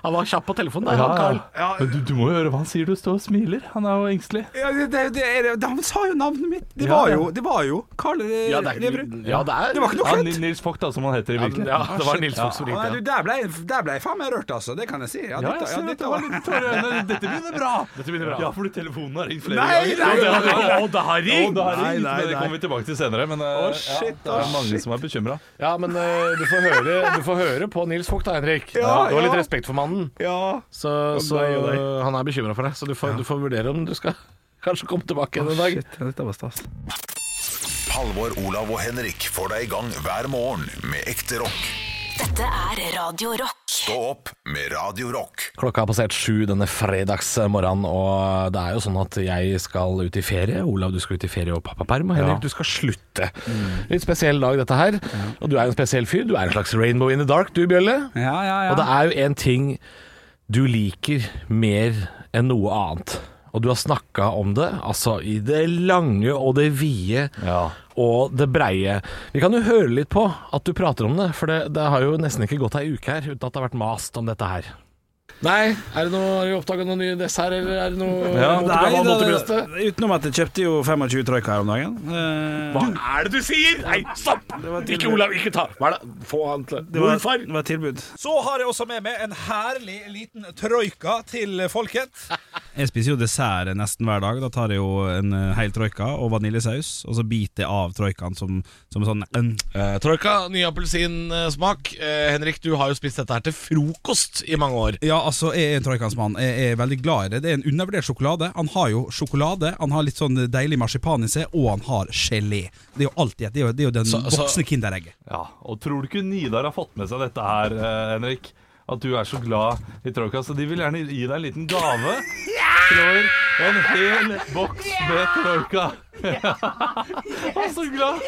S5: Han var kjapp på telefonen, der,
S4: Ja,
S5: han Carl.
S4: ja. Men Du, du må jo høre hva han sier. Du står og smiler. Han er jo engstelig.
S3: Ja, det, det, det, er- det, han sa jo navnet mitt! Det
S4: Ja,
S3: var
S4: ja.
S3: jo, det var jo Karl
S4: Ja, det er-
S3: Leverud.
S4: ja, det er-
S3: det var ikke noe
S4: Ja,
S3: kødd!
S4: Nils Vogt, da, som han heter i virkeligheten.
S5: Ah,
S3: Ja, du, Der ble, der ble jeg faen meg rørt, altså. Det kan jeg si.
S4: Ja, jeg ser at du har litt tårer i øynene. Dette begynner bra. Ja, fordi telefonen har ringt flere
S3: Nei,
S4: ganger.
S3: nei, nei, nei.
S4: Og det har- og det har ringt!
S5: Og det har
S4: Nei,
S5: ringt,
S4: nei,
S5: men det
S4: nei.
S5: kommer vi
S4: tilbake til senere. Men eh,
S5: Å, shit,
S4: det er
S5: å,
S4: mange
S5: shit.
S4: som er bekymra.
S5: Ja, men eh, du, får høre, du får høre på Nils Vogt da, Henrik.
S4: Ja,
S5: du har litt
S4: ja.
S5: respekt for mannen. Så,
S4: Og
S5: så
S4: deg, og deg.
S5: han er bekymra for deg, så du får, du får vurdere om du skal kanskje komme tilbake igjen en dag.
S1: Halvor, Olav og Henrik får deg i gang hver morgen med ekte rock.
S2: Dette er Radio Rock.
S1: Stå opp med Radio Rock.
S5: Klokka har passert sju denne fredagsmorgenen, og det er jo sånn at jeg skal ut i ferie. Olav, du skal ut i ferie og pappaperm, og Henrik,
S4: Ja. Mm.
S5: du skal slutte. Litt spesiell dag, dette her. Og du er jo en spesiell fyr. Du er en slags rainbow in the dark, du, Bjølle.
S3: ja.
S5: Og det er jo en ting du liker mer enn noe annet. Og du har snakka om det, altså i det lange og det vide og det breie. Vi kan jo høre litt på at du prater om det, for det, det har jo nesten ikke gått ei uke her uten at det har vært mast om dette her. Nei, er det noe, har du oppdaga noen nye dessert, eller er det noe
S3: Nei, det- utenom at jeg kjøpte jo 25 trøyk her om dagen. Eh,
S5: Hva er det du sier?! Nei, stopp! Ikke Olav, ikke ta! Hva er det? Få han til
S3: det, var, det var et tilbud.
S7: Så har jeg også med meg en herlig liten troika til folket. Jeg spiser jo dessert nesten hver dag. Da tar jeg jo en eh, hel troika og vaniljesaus, og så biter jeg av troikaen som, som sånn en
S8: Troika, ny appelsinsmak. Eh, Henrik, du har jo spist dette her til frokost i mange år.
S7: Ja, altså, jeg er en troikansmann. Jeg er veldig glad i det. Det er en undervurdert sjokolade. Han har jo sjokolade, han har litt sånn deilig marsipan i seg, og han har gelé. Det er jo alltid et- Det er jo, det er jo den
S4: Så- så-
S7: voksne Kinderegget.
S4: Ja, og tror du ikke Nidar har fått med seg dette her, eh, Henrik? At du er så glad i Troika, så de vil gjerne gi deg en liten gave. Slår en hel boks med Troika. Og så glad!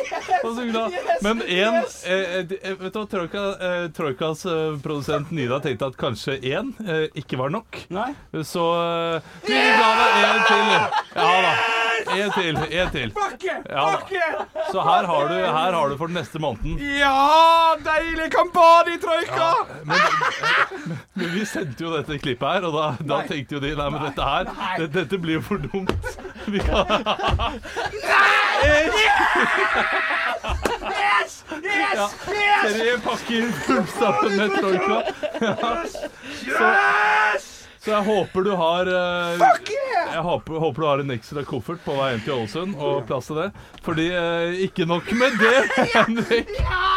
S4: Og så glad. Men en, eh, eh, vet du hva, Troika, eh, Troikas eh, produsent Nida tenkte at kanskje én eh, ikke var nok. Så eh, vi ga deg en til. Ja da. En til. En til. Ja, da. Så her har du, her har du for den neste måneden.
S6: Ja, deilig kampanje, troika!
S4: Men vi sendte jo dette klippet her, og da, da
S6: Nei.
S4: tenkte jo de Nei, men dette
S6: Nei.
S4: her det, Dette blir jo for dumt. Vi kan
S6: Yes!
S4: ja,
S6: Yes! Yes!
S4: Tre pakker fullstappet med troika. Ja. Så, så jeg håper du har eh,
S6: Fuck yeah!
S4: Jeg håper, håper du har en ekstra koffert på vei hjem til Ålesund og plass til det. Fordi eh, ikke nok med det, Henrik.
S6: Ja!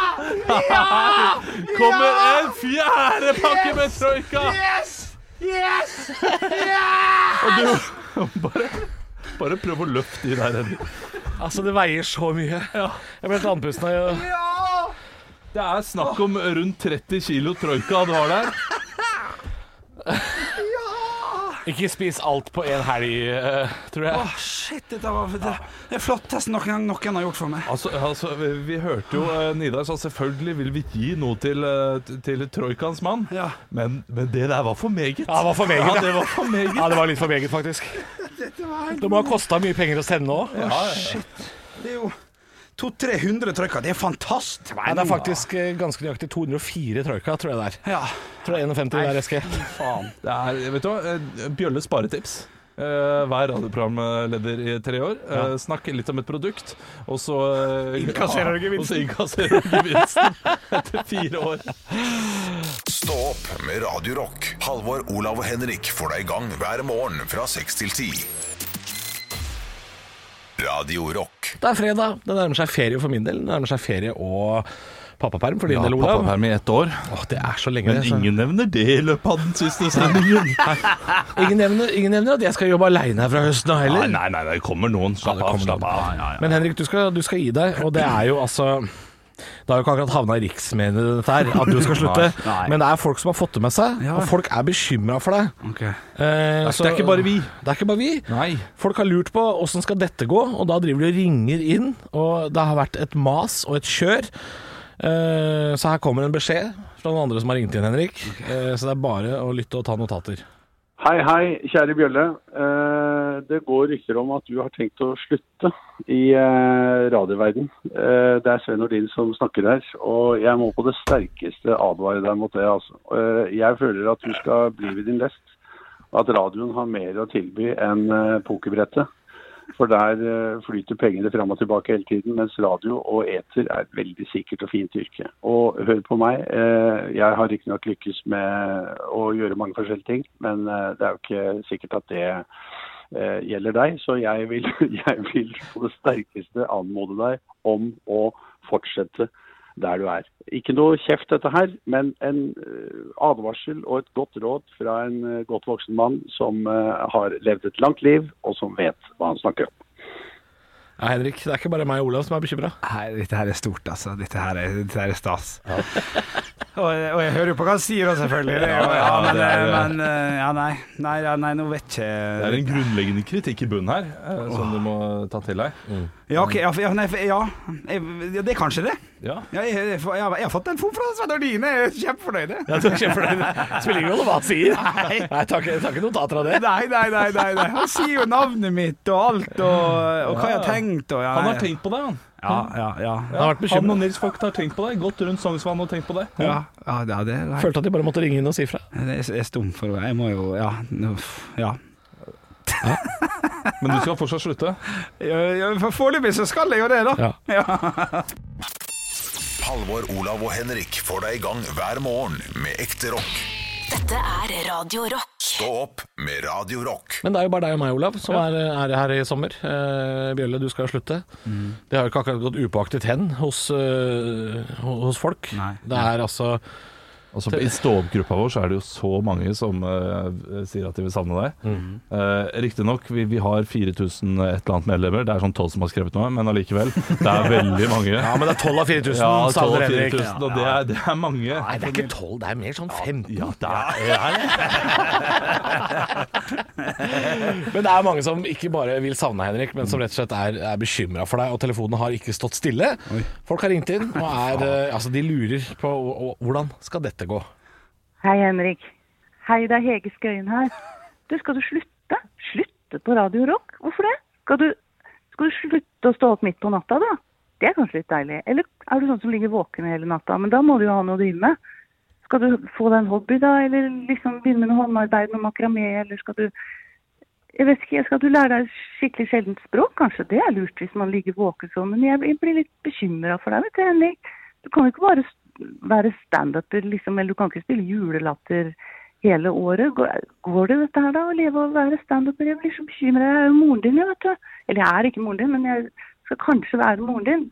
S4: Kommer en fjerde pakke med troika!
S6: Yes! Yes! Yes!
S4: Og du bare, bare prøv å løfte de der, Henrik.
S5: Altså, det veier så mye. Jeg ble helt andpusten av å-
S4: Det er snakk om rundt 30 kilo troika du har der.
S5: Ikke spis alt på en helg, eh, tror jeg.
S3: Åh, shit, dette var det, det er flotteste noen gang noen har gjort for meg.
S4: Altså, altså vi, vi hørte jo eh, Nidar sa selvfølgelig vil vi gi noe til, eh, t- til troikans mann. Men, men det der var for meget.
S5: Ja, det var for meget.
S4: Ja, det var for meget.
S5: Ja, det var litt for meget, faktisk. Det må ha kosta mye penger å sende òg.
S3: Åh, shit. Det er jo 200-300 trøyker. Det er fantastisk.
S5: Nei, det er faktisk eh, ganske nøyaktig 204 troika, tror jeg det er.
S3: Ja.
S5: Tror jeg 51 der, Eske.
S4: faen. Det er, vet du hva, eh, Bjølle sparetips. Eh, vær radioprogramleder i tre år. Eh, Snakk litt om et produkt, og så eh,
S5: Innkasserer du gevinsten.
S4: Og så innkasserer du gevinsten etter fire år.
S1: Stå opp med Radio Rock. Halvor, Olav og Henrik får deg i gang hver morgen fra 6 til 10. Radio Rock.
S5: Det er fredag. Det nærmer seg ferie for min del. Det nærmer seg ferie og pappaperm for din
S4: Ja,
S5: del, Olav.
S4: pappaperm i ett år.
S5: Åh, det er så lenge. altså.
S4: Men
S5: det, så-
S4: ingen nevner det i løpet av den siste sendingen.
S5: ingen, nevner, ingen nevner at jeg skal jobbe aleine her fra høsten av heller.
S4: Nei, nei, nei, det kommer noen. Slapp av. slapp av.
S5: Men Henrik, du skal, du skal gi deg, og det er jo altså det har jo ikke akkurat havna i riksmediene dette her, at du skal slutte.
S4: Nei, nei.
S5: Men det er folk som har fått det med seg, og folk er bekymra for deg. Eh,
S4: Det er ikke bare vi.
S5: Det er ikke bare vi. Folk har lurt på åssen skal dette gå, og da driver de og ringer inn. Og det har vært et mas og et kjør. Eh, så her kommer en beskjed fra noen andre som har ringt inn, Henrik. Eh, så det er bare å lytte og ta notater.
S13: Hei, hei, kjære Bjølle. Eh, eh, det går rykter om at du har tenkt å slutte i eh, radioverden. Eh, Det er Svein Nordin som snakker her, og jeg må på det sterkeste advare deg mot det. Altså. Eh, Jeg føler at du skal bli ved din lest, og at radioen har mer å tilby enn eh, pokerbrettet. For der eh, flyter pengene fram og tilbake hele tiden, mens radio og eter er et veldig sikkert og fint yrke. Og hør på meg, eh, jeg har riktignok lykkes med å gjøre mange forskjellige ting, men eh, det er jo ikke sikkert at det eh, gjelder deg. Så jeg vil, jeg vil på det sterkeste anmode deg om å fortsette der du er. Ikke noe kjeft dette her, men en eh, advarsel og et godt råd fra en eh, godt voksen mann som eh, har levd et langt liv, og som vet hva han snakker om.
S5: Ja, Henrik, det er ikke bare meg og Olav som er bekymra.
S3: Nei, dette her er stort, altså. Dette her er, dette her er stas. Og, og jeg hører jo på hva han sier, da, selvfølgelig. Det er jo-
S4: Ja,
S3: ja, men,
S4: det er-
S3: eh, men eh, ja, nei. Nei, ja, nei, nå vet ikke
S4: Det er en grunnleggende kritikk i bunnen her, eh, som du må ta til deg.
S3: Ja, ok. Ja, for- ja, nei, for- ja. Jeg, ja det er kanskje det.
S4: Ja.
S3: jeg, jeg, jeg, jeg har fått telefon fra Svein Ordine, jeg er kjempefornøyd. jeg.
S5: Ja, du er kjempefornøyd. Spiller ingen rolle hva han sier.
S3: Nei.
S5: Nei, tar ikke- tar ikke notater av det.
S3: Nei, nei, nei, nei, nei. Han sier jo navnet mitt og alt, og, og hva jeg har tenkt. Og, ja,
S4: Han
S3: nei.
S4: har tenkt på deg, han.
S3: Ja, ja, ja.
S4: han og Nils Vogt har tenkt på deg. Gått rundt Sognsvann og tenkt på deg.
S3: Ja, ja, ja det er
S5: Følte at de bare måtte ringe inn og si fra.
S3: Jeg er- jeg er stum for å Jeg må jo Ja. nå- ja.
S4: Men du skal fortsatt slutte?
S3: Ja, ja, for Foreløpig så skal jeg jo det, da. Ja.
S1: Halvor, Olav og Henrik får deg i gang hver morgen med ekte rock.
S2: Dette er Radio Rock.
S1: Stå opp med Radio Rock.
S5: Men det er jo bare deg og meg, Olav, som er, er her i sommer. Eh, Bjølle, du skal slutte.
S4: Mm.
S5: Det har jo ikke akkurat gått upåaktet hen hos, eh, hos folk. Det er altså
S4: Altså, I stå-opp-gruppa vår så er det jo så mange som eh, sier at de vil savne deg.
S5: Mhm.
S4: Eh, Riktignok, vi, vi har 4000 et eller annet medlemmer. Det er sånn 12 som har skrevet noe, men allikevel. Det er veldig mange.
S5: Ja, men det er 12 av 4000,
S4: Ja, 12 av
S5: savner Henrik.
S4: 4000, og det er, det er mange.
S5: Nei, det er ikke 12, det er mer sånn 15.
S4: Ja, det er, det er det.
S5: Men det er mange som ikke bare vil savne Henrik, men som rett og slett er, er bekymra for deg. Og telefonen har ikke stått stille. Folk har ringt inn, og er, eh, altså, de lurer på og, og, hvordan skal dette gå.
S14: Hei, Henrik. Hei, det er Hege Skøyen her. Du, skal du slutte? Slutte på Radio Rock? Hvorfor det? Skal du, skal du slutte å stå opp midt på natta, da? Det er kanskje litt deilig. Eller er du sånn som ligger våken hele natta? Men da må du jo ha noe å drive med. Skal du få deg en hobby, da? Eller liksom begynne med noe håndarbeid med makramé? Eller skal du jeg vet ikke, Skal du lære deg skikkelig sjeldent språk? Kanskje det er lurt hvis man ligger våken sånn. Men jeg blir- jeg blir litt bekymra for deg, vet du, Henrik. Du kan jo ikke bare st- være standuper, liksom. Eller du kan ikke spille julelatter hele året. Går, går det dette her, da? Å leve og være standuper? Jeg blir så bekymra. Jeg er jo moren din, jeg, vet du. Eller jeg er ikke moren din, men jeg skal kanskje være moren din.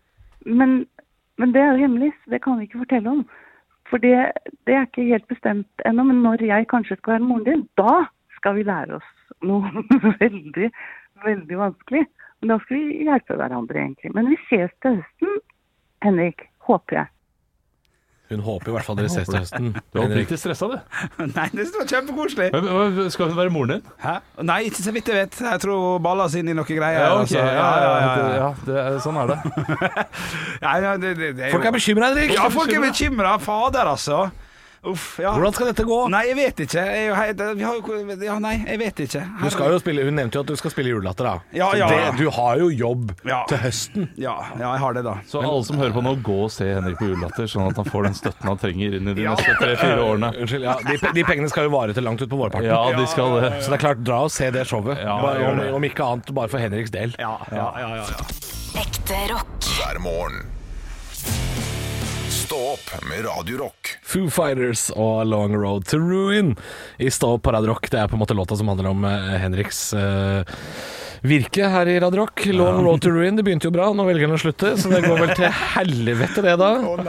S14: Men, men det er jo hemmelig, så det kan vi ikke fortelle om. For det, det er ikke helt bestemt ennå. Men når jeg kanskje skal være moren din, da skal vi lære oss noe veldig, veldig vanskelig. Men da skal vi hjelpe hverandre, egentlig. Men vi ses til høsten, Henrik. Håper jeg.
S5: Hun håper i hvert fall dere ses til høsten.
S4: Du er oppriktig stressa, du.
S3: Nei, det var kjempekoselig.
S4: Skal hun være moren din?
S3: Hæ? Nei, ikke så vidt jeg vet. Jeg tror hun balla oss inn i noen greier.
S4: Ja, ok.
S3: altså.
S4: ja, ja, ja,
S3: ja, ja.
S4: det er, sånn er det.
S3: Nei, ja, det, det, det,
S4: Folk er bekymret, Henrik.
S3: Ja, folk er bekymra. Fader, altså. Uff, ja.
S5: Hvordan skal dette gå?
S3: Nei, jeg vet ikke. Jeg, er jo helt- vi har jo, ja, nei, jeg vet ikke.
S5: Du skal jo spille, hun nevnte jo at du skal spille julelatter, da.
S3: Ja,
S5: Så
S3: ja,
S5: det,
S3: ja.
S5: du har jo jobb til høsten.
S3: Ja, ja, jeg har det, da.
S4: Så alle som hører på nå, gå og se Henrik på julelatter, sånn at han får den støtten han trenger inn i de neste tre-fire årene.
S5: Unnskyld, ja, de, pe- de pengene skal jo vare til langt ut på vårparten.
S4: Ja, de skal det.
S5: Så det er klart, dra og se det showet.
S4: gjør
S5: bare, om,
S4: det.
S5: om ikke annet, bare for Henriks del.
S2: Ekte rock.
S1: Hver morgen. Stå opp med Radio Rock.
S5: Foo Fighters og Long Road to Ruin i Stå opp på Radio Rock. Det er på en måte låta som handler om eh, Henriks eh, virke her i Radio Rock. Long Road to Ruin, det begynte jo bra, nå velger han å slutte, så det går vel til helvete det, da.
S4: Og,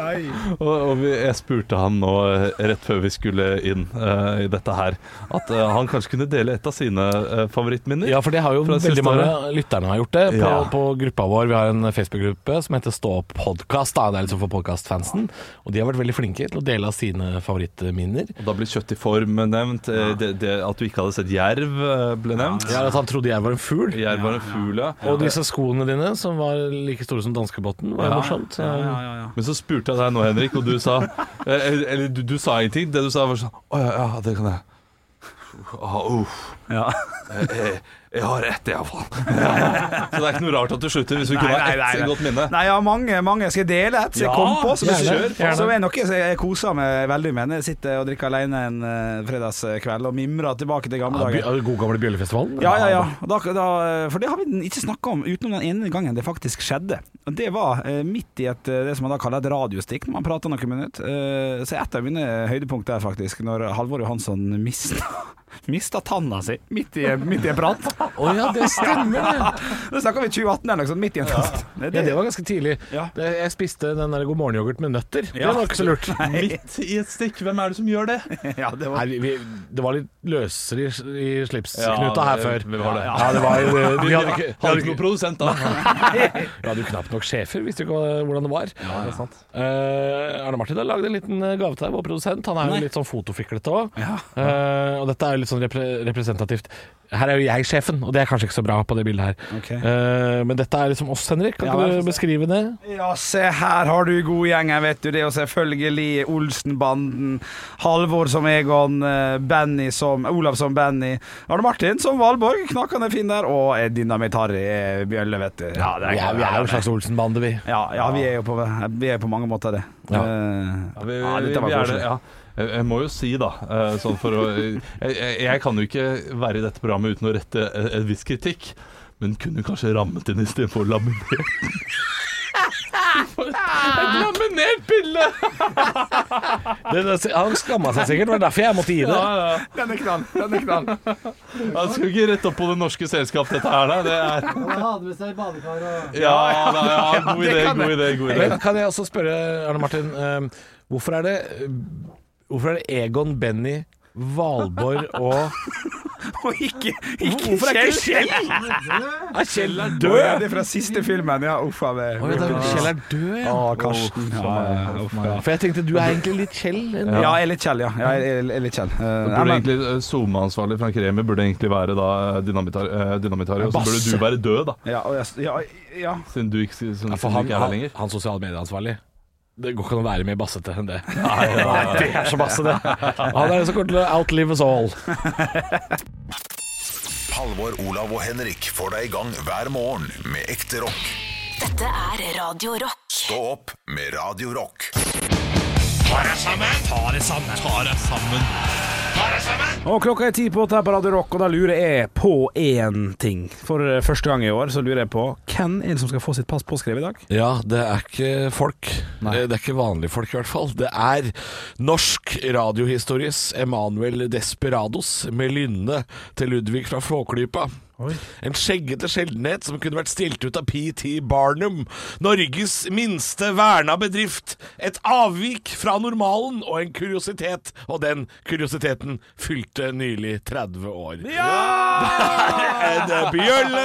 S4: og vi, jeg spurte han nå eh, rett før vi skulle inn eh, i dette her, at eh, han kanskje kunne dele et av sine eh, favorittminner.
S5: Ja, for det har jo
S4: fra det
S5: veldig
S4: siste
S5: mange
S4: året.
S5: av lytterne har gjort det på,
S4: Ja.
S5: på gruppa vår. Vi har en Facebook-gruppe som heter Stå opp podkast. Det er liksom for podkastfansen. Og de har vært veldig flinke til å dele av sine favorittminner.
S4: Og da ble kjøtt i form nevnt, eh, det, det, at du ikke hadde sett jerv eh, ble nevnt.
S5: Ja, at han trodde jerv var en fugl.
S4: Jerv var en fugl, ja.
S5: Og disse skoene dine, som var like store som danskebåten, var jo
S4: Ja.
S5: morsomt.
S4: Men så spurte jeg deg nå, Henrik, og du sa eh, Eller eller du, du sa ingenting. Det du sa, var sånn Å ja, ja, det kan jeg. Ah, uff.
S3: Ja.
S4: Eh, eh, Jeg har ett, jeg, faen. Så det er ikke noe rart at du slutter hvis vi kunne ha ett godt minne.
S3: Nei, jeg har mange, mange. Skal jeg dele et som
S4: Ja,
S3: jeg kom på? Som,
S4: gjerne.
S3: jeg,
S4: Gjerne.
S3: som er noe som jeg koser meg veldig med når jeg sitter og drikker alene en eh, fredagskveld og mimrer tilbake til gamle
S5: Ja, by-
S3: dager.
S5: ja, God gamle Bjøllefestivalen?
S3: Ja, ja, ja. Og Da, da, for det har vi ikke snakka om utenom den ene gangen det faktisk skjedde. Og Det var eh, midt i et, eh, det som man da kaller et radiostikk, når man prater noen minutter. Eh, så et av mine høydepunkt der, faktisk, når Halvor Johansson mista, mista tanna si midt i, midt i en prat. Å
S5: ja, det stemmer, det.
S3: Da snakker vi 2018 eller noe sånt, midt i en prat.
S5: Ja, det var ganske tidlig. Det- Jeg spiste den der God morgen-yoghurt med nøtter.
S3: Ja.
S5: Det var ikke så lurt.
S3: Nei.
S4: Midt i et stikk, hvem er det som gjør det?
S3: ja, det
S5: Nei, vi, vi, det var litt løsere i, i slipsknuta
S4: Ja,
S5: her
S4: det-
S5: før.
S4: vi var det.
S5: Ja, det var, eh, vi,
S4: Vi-
S5: hadde ikke,
S4: vi hadde ikke noen produsent da.
S5: Nei. Vi hadde jo knapt nok sjefer, visste jo ikke hva- hvordan det var. Ja, det er sant. Arne Martin har lagd en liten eh, gave til deg, vår produsent. Han er jo litt sånn fotofiklete òg. og dette er jo litt sånn repre representativt. Her er jo jeg sjefen, og det er kanskje ikke så bra på det bildet her.
S3: Ok.
S5: Eh, men dette er liksom oss, Henrik. Kan
S3: Ja,
S5: ikke
S3: vær så
S5: du beskrive det?
S3: Ja, se her har du god gjeng her, vet du. Det er jo selvfølgelig Olsenbanden. Halvor som Egon, eh, Benny som Olav som Benny. Arne Martin som Valborg, knakende fin der. Og eh, Dynamitt-Harry eh, Bjølle, vet du. Ja,
S5: Vi er, vi er jo en slags Olsen-bande, vi.
S3: Ja, ja, vi er jo på, vi er på mange måter det.
S5: Ja.
S3: Eh,
S4: Ja, vi,
S3: ja,
S4: vi,
S3: dette var
S4: vi er
S3: koselig.
S4: det, ja. Jeg jeg må jo si, da eh, sånn for å, jeg, jeg- jeg kan jo ikke være i dette programmet uten å rette en, en viss kritikk, men kunne kanskje rammet inn istedenfor laminert.
S5: Et laminert bilde! Han skamma seg sikkert, det var derfor jeg måtte gi det.
S3: Den er knall. Den er knall.
S4: Jeg skal ikke rette opp på det norske selskap, dette her, nei. Det er
S6: Han hadde med seg badekar og
S4: Ja, da, ja, god
S5: det
S4: idé,
S5: kan
S4: god
S5: jeg.
S4: idé. god idé
S5: Men kan jeg også spørre, Arne Martin, eh, hvorfor er det Hvorfor er det Egon, Benny, Valborg og
S3: Og ikke, ikke
S5: Hvorfor er ikke Kjell? Er Kjell er død?
S3: Ja, det er fra siste filmen, ja. Uff a meg.
S5: Å, ja, det er vel Kjell er død, ja.
S3: Å, Karsten.
S5: Uff,
S3: Ja, ja, ja, uff, ja.
S5: For jeg tenkte du er egentlig litt Kjell.
S3: Ja, jeg er litt Kjell, ja. Jeg er- jeg er litt Kjell. Eh,
S4: Burde
S3: nei, men-
S4: egentlig eh, SoMe-ansvarlig Frank Remi burde egentlig være da dynamitar- eh, dynamitari, og så burde
S3: Basse.
S4: du være død, da.
S3: Ja, og jeg, ja, ja.
S4: Siden du ikke, siden
S5: Ja,
S4: du
S5: for
S4: ikke
S5: han,
S4: er her
S5: han,
S4: lenger.
S5: han sosialmedieansvarlig. Det går ikke an å være mer bassete enn det.
S4: Nei, nei, nei.
S5: Det er så basse, det. Han er den som kommer til å outlive us all.
S1: Halvor, Olav og Henrik får deg i gang hver morgen med ekte rock.
S2: Dette er Radio Rock.
S1: Stå opp med Radio Rock.
S8: Ta deg sammen! Ta deg sammen! Ta deg sammen! Ta deg sammen!
S7: Og klokka er ti på åtte her på Radio Rock, og da lurer jeg på én ting. For eh, første gang i år så lurer jeg på hvem er det som skal få sitt pass påskrevet i dag?
S5: Ja, det er ikke folk. Det er ikke vanlige folk, i hvert fall. Det er norsk radiohistories Emanuel Desperados med lynne til Ludvig fra Flåklypa. En skjeggete sjeldenhet som kunne vært stilt ut av PT Barnum. Norges minste verna bedrift. Et avvik fra normalen og en kuriositet. Og den kuriositeten fylte nylig 30 år. Det er en bjølle!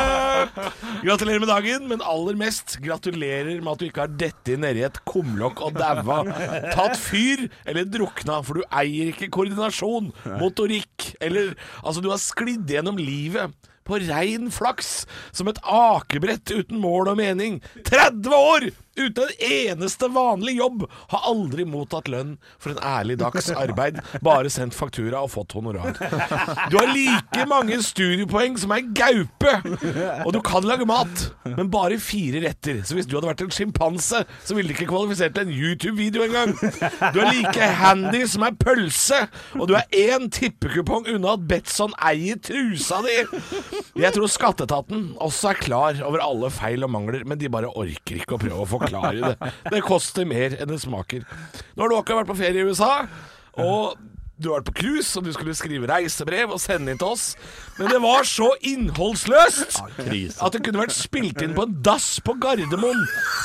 S5: Gratulerer med dagen, men aller mest gratulerer med at du ikke har dettet nedi et kumlokk og daua, tatt fyr eller drukna, for du eier ikke koordinasjon, motorikk eller Altså, du har sklidd gjennom livet. På rein flaks, som et akebrett uten mål og mening. 30 år uten en eneste vanlig jobb! Har aldri mottatt lønn for en ærlig dags arbeid, bare sendt faktura og fått honorar. Du har like mange studiepoeng som ei gaupe, og du kan lage mat, men bare fire retter. Så hvis du hadde vært en sjimpanse, så ville du ikke kvalifisert til en YouTube-video engang. Du er like handy som ei pølse, og du er én tippekupong unna at Betson eier trusa di. Jeg tror skatteetaten også er klar over alle feil og mangler, men de bare orker ikke å prøve å forklare det. Det koster mer enn det smaker. Nå har du akkurat vært på ferie i USA, og du har vært på cruise, og du skulle skrive reisebrev og sende inn til oss. Men det var så innholdsløst at det kunne vært spilt inn på en dass på Gardermoen.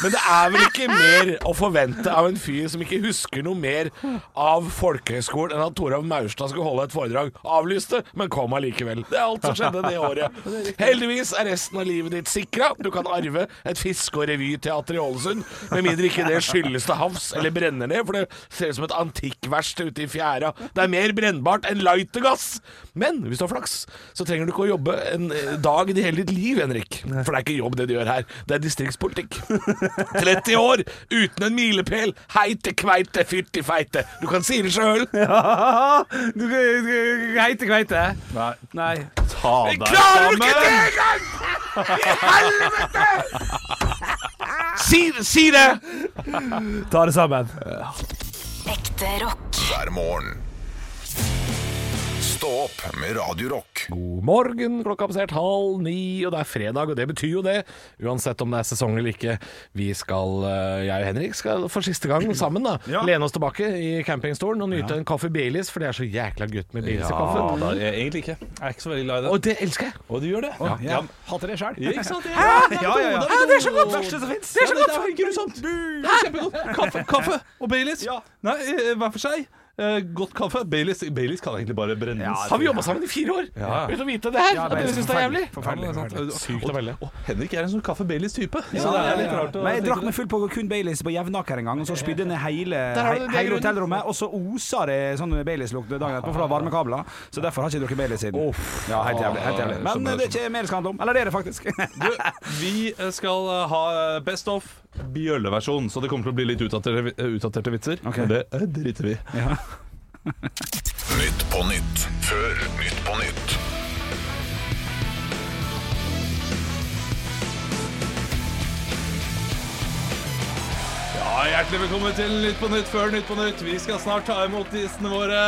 S5: Men det er vel ikke mer å forvente av en fyr som ikke husker noe mer av folkehøyskolen enn at Torhaug Maurstad skulle holde et foredrag. Avlyste, men kom allikevel. Det er alt som skjedde det året. Heldigvis er resten av livet ditt sikra. Du kan arve et fiske- og revyteater i Ålesund, med mindre ikke det skyldes til havs eller brenner ned, for det ser ut som et antikkverksted ute i fjæra. Det er mer brennbart enn lightergass. Men hvis du har flaks, så trenger du ikke å jobbe en eh, dag i hele ditt liv, Henrik. For det er ikke jobb det du gjør her, det er distriktspolitikk. 30 år uten en milepæl. Heite kveite, fytti feite. Du kan si det sjøl.
S3: Ja, du, du, du, heite kveite.
S4: Nei.
S3: Nei.
S4: Ta
S6: Jeg
S4: deg
S6: klarer ikke det
S4: sammen!
S6: engang! I helvete!
S8: Si, si det!
S7: Ta det sammen.
S2: Ekte rock.
S1: hver morgen. Stå opp med Radio Rock.
S5: God morgen, klokka er passert halv ni, og det er fredag, og det betyr jo det, uansett om det er sesong eller ikke. Vi skal, eh, jeg og Henrik skal for siste gang sammen da, lene oss tilbake i campingstolen og nyte en kaffe Baileys, for det er så jækla gutt med Baileys i kaffe.
S4: da, jeg, egentlig ikke. Jeg er ikke så veldig glad i det.
S5: Og det elsker jeg!
S4: Og du gjør det?
S5: Ja.
S4: Ja.
S3: Hater det sjøl.
S4: Ja, ikke sant?
S3: Ja, ja, ja, ja.
S4: Hæ,
S3: det er så godt! Verste som fins.
S4: Ja, det er grusomt. Det er kjempegodt. Kaffe, kaffe og Baileys. Nei, eh, hver for seg. Eh, godt kaffe. Baileys, Baileys kan egentlig bare brennes.
S5: Har vi jobba sammen i fire år
S4: Ja.
S5: uten å vite det her?
S4: Ja,
S5: at
S4: det er
S5: dere syns det er jævlig?
S3: Forferdelig,
S5: Ja, det er sant. Sykt å velge.
S4: Og Henrik er en sånn kaffe Baileys-type.
S3: Ja,
S4: så det er litt
S3: ja, ja.
S4: rart å
S3: Men jeg
S4: tenke
S3: drakk meg full på kun Baileys på Jevnaker en gang, og så spydde jeg ned hele,
S4: Der har du det, det er
S3: hele
S4: grunnen.
S3: hotellrommet. Og så osa det sånn Baileys-lukt dagen etterpå, for det var varmekabler. Så derfor har jeg ikke drukket Baileys siden. Ja, helt jævlig. Helt jævlig.
S4: Skjønner,
S3: Men det er ikke mer det skal handle om. Eller det er det faktisk.
S4: Vi eh, skal eh, ha eh, Best of bjølleversjon, så det kommer til å bli litt utdaterte, utdaterte vitser. Men det eh, driter vi i.
S1: Nytt på nytt før Nytt på nytt.
S4: Ja, Hjertelig velkommen til Nytt på Nytt før Nytt på Nytt. Vi skal snart ta imot gjestene våre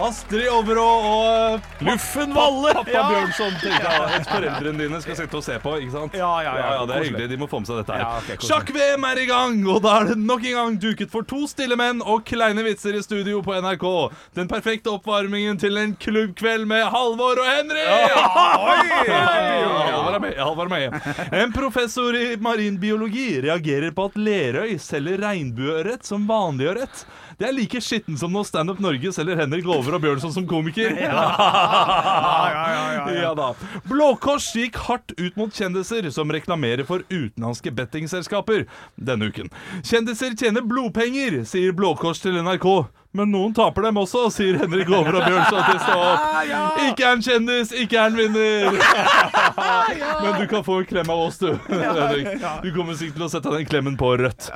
S4: Astrid Overå og
S5: Luffen Valle!
S4: Pappa
S5: Ja.
S4: Bjørnson. tenkte jeg. At Foreldrene dine skal sitte og se på, ikke sant? Ja,
S3: ja,
S4: Det er
S3: koselig.
S4: hyggelig. De må få med seg dette her.
S3: Ja, ok, koselig.
S4: Sjakk-VM er i gang, og da er det nok en gang duket for to stille menn og kleine vitser i studio på NRK. Den perfekte oppvarmingen til en klubbkveld med Halvor og Henry! Halvor er med. Halvor er med. En professor i marinbiologi reagerer på at Lerøy selger regnbueørret som vanlig ørret. Det er like skitten som når Standup Norge selger Henrik Lover og Bjørnson som komiker. Ja da. Blå Kors gikk hardt ut mot kjendiser som reklamerer for utenlandske bettingselskaper denne uken. Kjendiser tjener blodpenger, sier Blå Kors til NRK. Men noen taper dem også, sier Henrik Over og Bjørnson til Stå opp. Ikke er en kjendis, ikke er en vinner. Men du kan få en klem av oss, du. Henrik. Du kommer sikkert til å sette den klemmen på rødt.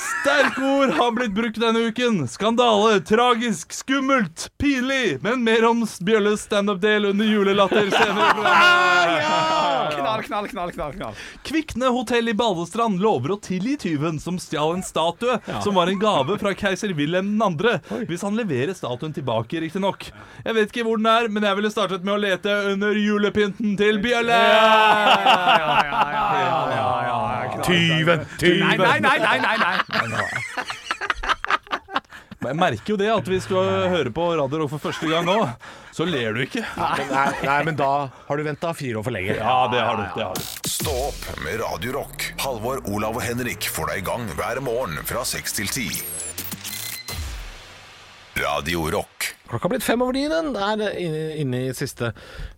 S4: Sterke ord har blitt brukt denne uken. Skandale, tragisk, skummelt, pinlig. Men mer om Bjølles standup-del under julelatter senere. i programmet.
S3: Knall, knall, knall, knall. knall.
S4: Kvikne hotell i Balestrand lover å tilgi tyven som stjal en statue som var en gave fra keiser Wilhelm 2., hvis han leverer statuen tilbake, riktignok. Jeg vet ikke hvor den er, men jeg ville startet med å lete under julepynten til Bjølle!
S5: Tyven, tyven.
S6: Nei, nei, nei, nei, nei,
S4: Men jeg merker jo det at hvis du hører på Radio Rock for første gang nå, så ler du ikke.
S5: Nei, nei, men da har du venta fire år for lenge.
S4: Ja, det har du. Det har du.
S1: Stå opp med Radio Rock. Halvor, Olav og Henrik får deg i gang hver morgen fra 6 til 10. Radio Rock.
S5: Klokka har blitt fem over ni, den. Det er inne, inne i siste,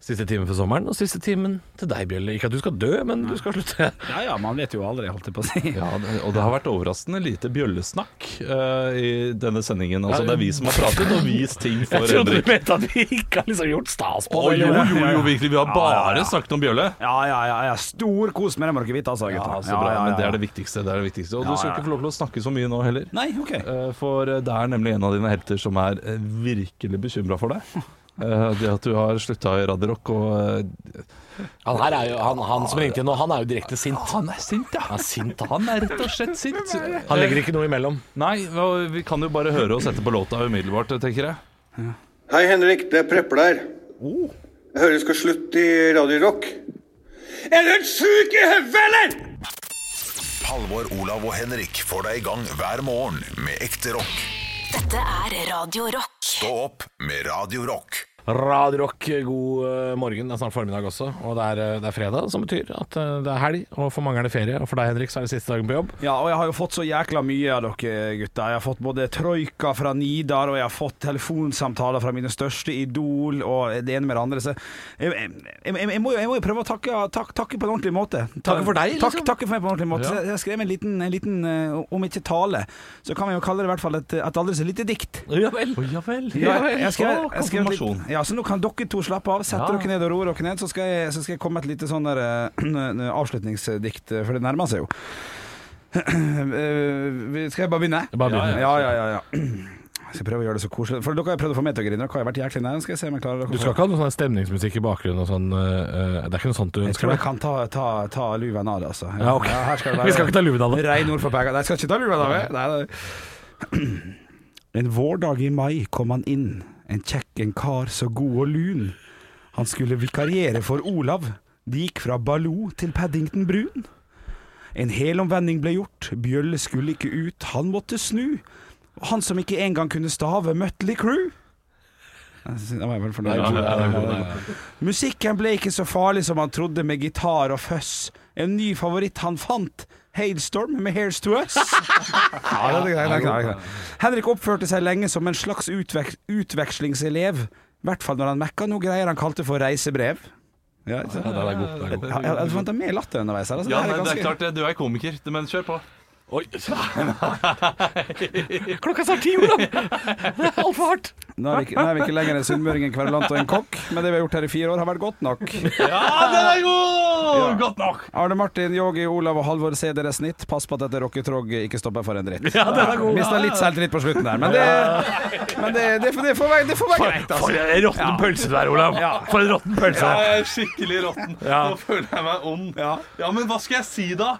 S5: siste timen for sommeren. Og siste timen til deg, Bjelle. Ikke at du skal dø, men du skal slutte.
S3: Ja ja, man vet jo aldri, holdt jeg på å si.
S4: Ja, det- og det har vært overraskende lite bjøllesnakk eh, i denne sendingen. Altså, det er vi som har pratet og vist ting for
S5: Jeg trodde
S4: Henrik.
S5: du mente at vi ikke har liksom gjort stas på
S4: Å
S5: det.
S4: jo,
S5: eller?
S4: jo, jo, virkelig. Vi har
S5: Ja,
S4: bare
S5: ja, ja.
S4: snakket om bjølle.
S3: Ja ja ja, ja. stor kos med det, må dere vite, altså, gutter.
S4: Ja, så bra,
S3: Ja, ja,
S4: Men det
S3: ja.
S4: er det viktigste. Det er det viktigste.
S3: Ja,
S4: Og du
S3: ja.
S4: skal ikke få lov til å snakke så mye nå heller.
S3: Nei, ok.
S4: Eh, For eh, det er nemlig en av dine helter som er eh, virkelig bekymra for deg. Eh, Det at du har slutta i Radio Rock og eh,
S5: Han her er jo, han, han som ringte inn nå, han er jo direkte sint.
S4: Ah, Han er sint, ja.
S5: Han er, sint,
S4: han. er rett og slett sint.
S5: Han legger ikke noe imellom.
S4: Nei, hva- vi kan jo bare høre og sette på låta umiddelbart, eh, tenker jeg.
S15: Hei, Henrik. Det er Preple her. Jeg hører du skal slutte i Radio Rock.
S6: Er du sjuk i hodet, eller?!
S1: Halvor, Olav og Henrik får deg i gang hver morgen med ekte rock.
S2: Dette er Radio Rock.
S1: Stå opp med Radio Rock.
S5: Radio Rock, god eh, morgen. Det er snart formiddag også, og det er, eh, det er fredag, som betyr at eh, det er helg. Og for mange er det ferie, og for deg, Henrik, så er det siste dagen på jobb.
S3: Ja, og jeg har jo fått så jækla mye av dere gutter. Jeg har fått både troika fra Nidar, og jeg har fått telefonsamtaler fra mine største idol, og det ene med det andre. Så jeg, jeg, jeg, jeg, må, jo, jeg må jo prøve å takke, tak, takke på en ordentlig måte.
S5: Takke for deg,
S3: Takk,
S5: liksom?
S3: takke for meg på en ordentlig måte.
S5: Ja.
S3: Så jeg- jeg skrev en liten, en liten eh, om ikke tale, så kan vi jo kalle det i hvert fall et, et aldri så lite dikt.
S5: Ja vel.
S3: Ja, jeg- jeg skrev, jeg skrev litt,
S4: Konfirmasjon.
S3: ja, så nå kan dere to slappe av. Sette
S4: Ja.
S3: dere ned og roe dere ned, så skal jeg, så skal jeg komme med et lite sånn der, eh, avslutningsdikt, eh, for det nærmer seg jo. Eh, vi- skal jeg bare begynne?
S5: Bare begynn.
S3: Ja, ja, ja, ja. Skal prøve å gjøre det så koselig. For dere har prøvd å få meg til å grine. Dere har jo vært jæklig nær. Skal jeg se om jeg klarer å
S5: Du skal ikke ha noe sånn stemningsmusikk i bakgrunnen og sånn eh, eh, Det er ikke noe sånt du
S3: Jeg
S5: ønsker
S3: tror jeg
S5: deg?
S3: kan ta, ta, ta luven av det, altså.
S5: Ja, ok.
S3: her det
S5: Vi skal ikke ta luven av det.
S3: Rein ord for pengene. Nei, jeg skal ikke ta luven av det. Nei, nei. En vårdag i mai kom han inn, en kjekk, en kar så god og lun. Han skulle vikariere for Olav. De gikk fra Baloo til Paddington Brun. En helomvending ble gjort, Bjølle skulle ikke ut, han måtte snu. Han som ikke engang kunne stave Mutley Crew. Da var jeg vel fornøyd.
S6: Ja, ja, ja, ja, ja,
S3: Musikken ble ikke så farlig som han trodde med gitar og føss. En ny favoritt han fant, Hailstorm med Here's to Us. Ja, det er greit, det er greit, det er greit. Henrik oppførte seg lenge som en slags utvek utvekslingselev, i hvert fall når han mekka noe greier han kalte for reisebrev. Ja, ikke sant?
S4: Ja, den er god, den er god.
S3: Ja, ja, Du fant deg mer latter underveis her. altså.
S4: Ja,
S3: Det her
S4: nei, det er
S3: ganske-
S4: klart det. Du er komiker, men kjør på. Oi
S6: Klokka snart ti, Olav! Det er altfor hardt.
S3: Nå er, vi ikke, nå er vi ikke lenger en sunnmøring, en kverulant og en kokk, men det vi har gjort her i fire år, har vært godt nok.
S4: Ja, den er god!
S3: Ja.
S4: Godt nok!
S3: Arne Martin, Yogi, Olav og Halvor, se deres snitt. Pass på at dette rocketrog ikke stopper for en dritt.
S6: Ja, den er god.
S3: Mista litt selvtillit på slutten der, men det, men det, det, får- det får være, det får være greit. altså.
S6: for
S5: Altså,
S6: en råtten pølse du er, Olav.
S3: For en
S6: råtten pølse.
S4: Ja, jeg er skikkelig råtten. Nå føler jeg meg ond. Ja. men hva skal jeg si da?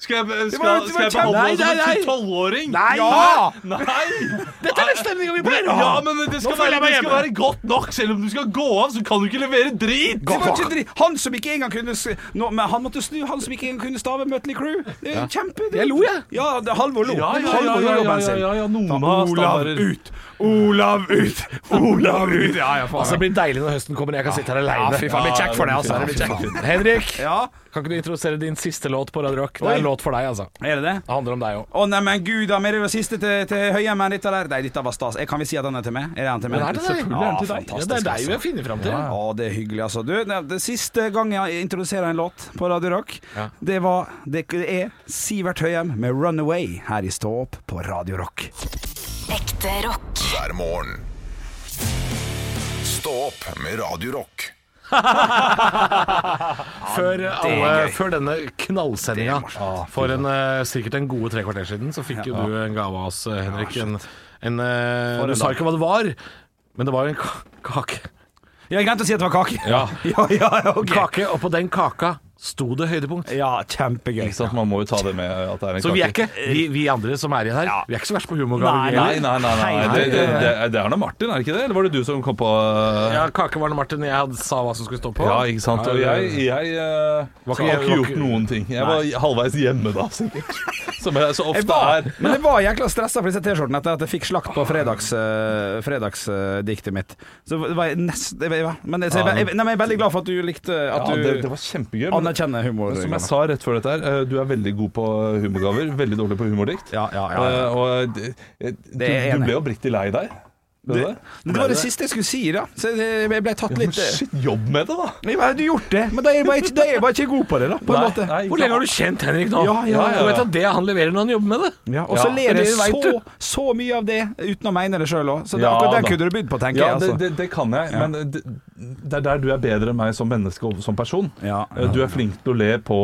S4: Skal jeg,
S6: Det var-
S4: skal,
S6: det
S4: skal
S6: var
S4: jeg beholde
S6: kjempe-
S4: meg som
S6: Nei, nei,
S4: en
S6: nei.
S4: 12-åring?
S6: Nei.
S4: Ja! Nei!
S6: Dette er den stemninga vi pleier å ha.
S4: Ja, men det skal,
S6: Nå føler
S4: være,
S6: jeg meg
S4: det skal
S6: hjemme.
S4: være godt nok. Selv om du skal gå av, så kan du ikke levere drit.
S3: Det var ikke dritt. Han som ikke engang kunne s- nå, Men han måtte snu, han som ikke engang kunne stave Mutley Crew. Det er
S4: Ja.
S3: kjempe
S4: Jeg lo, jeg.
S3: Ja, det, Halvor lo.
S4: Ja, ja, ja,
S3: Halvor
S4: ja,
S3: lo,
S4: ja,
S3: jobben sin.
S4: ja, ja, noen
S3: Ta
S4: av oss
S3: Olav
S4: stammer.
S3: ut! Olav ut! Olav ut! Ja, ja, faen.
S5: Altså, det blir deilig når høsten kommer og jeg kan sitte her aleine.
S3: Ja, fy faen, det blir kjekt for deg, altså.
S5: Ja,
S3: Det blir
S5: fy
S3: kjekt.
S5: faen. Henrik,
S3: kan
S5: ikke du introdusere din siste låt på Radio Rock? Det
S3: Oi.
S5: er en låt for deg, altså.
S3: Er det det?
S5: Det handler om deg òg.
S3: Å nei, men gud da, men det er jo det siste til, til Høyheimen, dette der. Nei, dette var stas. Jeg kan vi si at den er til meg? Er den til meg?
S5: Den er til deg.
S3: Selvfølgelig
S5: Ja, fantastisk,
S3: Ja, det er deg vi
S5: altså.
S3: har funnet fram til.
S5: Ja.
S3: Ja, det er hyggelig, altså. Du, det, det siste gang jeg introduserer en låt på Radio Rock, det var Det er Sivert Høyem med 'Runaway' her i Stå opp på Radio Rock.
S2: Ekte rock.
S1: hver morgen. Stå opp med Radio Rock.
S5: Før,
S1: det er
S5: alle,
S1: gøy.
S5: før denne knallsendinga for en, eh, sikkert en gode tre kvarter siden, så fikk jo
S16: Ja.
S5: du en gave av oss, eh, Henrik. En, en, eh,
S16: For en
S5: du sa
S16: dag.
S5: ikke hva det var, men det var jo en ka- kake.
S3: Jeg glemte å si at det var kake.
S5: Ja.
S3: ja,
S5: Kake, og på den kaka sto det høydepunkt.
S3: Ja, kjempegøy.
S4: Ikke sant, Man må jo ta det med at det er en
S5: Så vi er
S4: kake.
S5: ikke, vi, vi andre som er i her, vi er ikke så verst på
S4: Nei,
S5: humorgaver.
S4: nei, nei. nei, nei. Det, det, det, det er nå Martin, er det ikke det? Eller var det du som kom på eh?
S5: Ja, kake var det Martin. Jeg hadde- sa hva som skulle stå på.
S4: Ja, ikke sant. Og jeg, jeg eh,
S5: Var ikke-
S4: har ikke
S5: var
S4: gjort
S5: ikke-
S4: noen ting. Jeg var
S5: Nei.
S4: halvveis hjemme da, sikkert. Som jeg så
S3: Jeg
S4: ofte
S3: var,
S4: er.
S3: men jeg var jækla stressa for disse T-skjortene etter at jeg fikk slakt på fredags, eh, fredagsdiktet mitt. Så det var jeg nest, jeg, jeg, men, jeg, så jeg, jeg, nei, men jeg er veldig glad for at du likte at
S4: Ja,
S3: du
S4: det, det var kjempegøy. men-
S3: anerkjenner humor.
S4: Som jeg sa rett før dette her, eh, du er veldig god på eh, humorgaver, veldig dårlig på humordikt.
S3: ja.
S4: Eh, Og det,
S3: Det er jeg
S4: du,
S3: enig
S4: du
S3: i.
S4: ble oppriktig lei deg. Ble du
S3: Det,
S4: det?
S3: det
S4: Ble
S3: var
S4: du
S3: det siste jeg skulle si, da. Så jeg jeg ble tatt
S4: Ja, men
S3: litt eh,
S4: shit, jobb med det, da!
S3: Nei, men jeg hadde gjort det, men da er jeg bare ikke, da er jeg bare ikke god på det, da. På en
S5: Nei,
S3: måte.
S5: nei, ikke Hvor lenge har du kjent Henrik nå?
S3: Ja, ja, ja.
S5: Du vet at det han leverer når han jobber med det.
S3: Ja, og så ler
S5: det
S3: jeg
S5: vet
S3: så,
S5: du.
S3: så mye av det uten å mene det sjøl òg, så det,
S4: Ja,
S3: akkurat den
S4: da.
S3: kunne du bydd på, tenker
S4: ja,
S3: jeg. Altså.
S4: det, det, det kan jeg,
S3: Ja.
S4: men det, det er der du er bedre enn meg som menneske og som person. Eh,
S3: ja.
S4: Du er flink til å le på,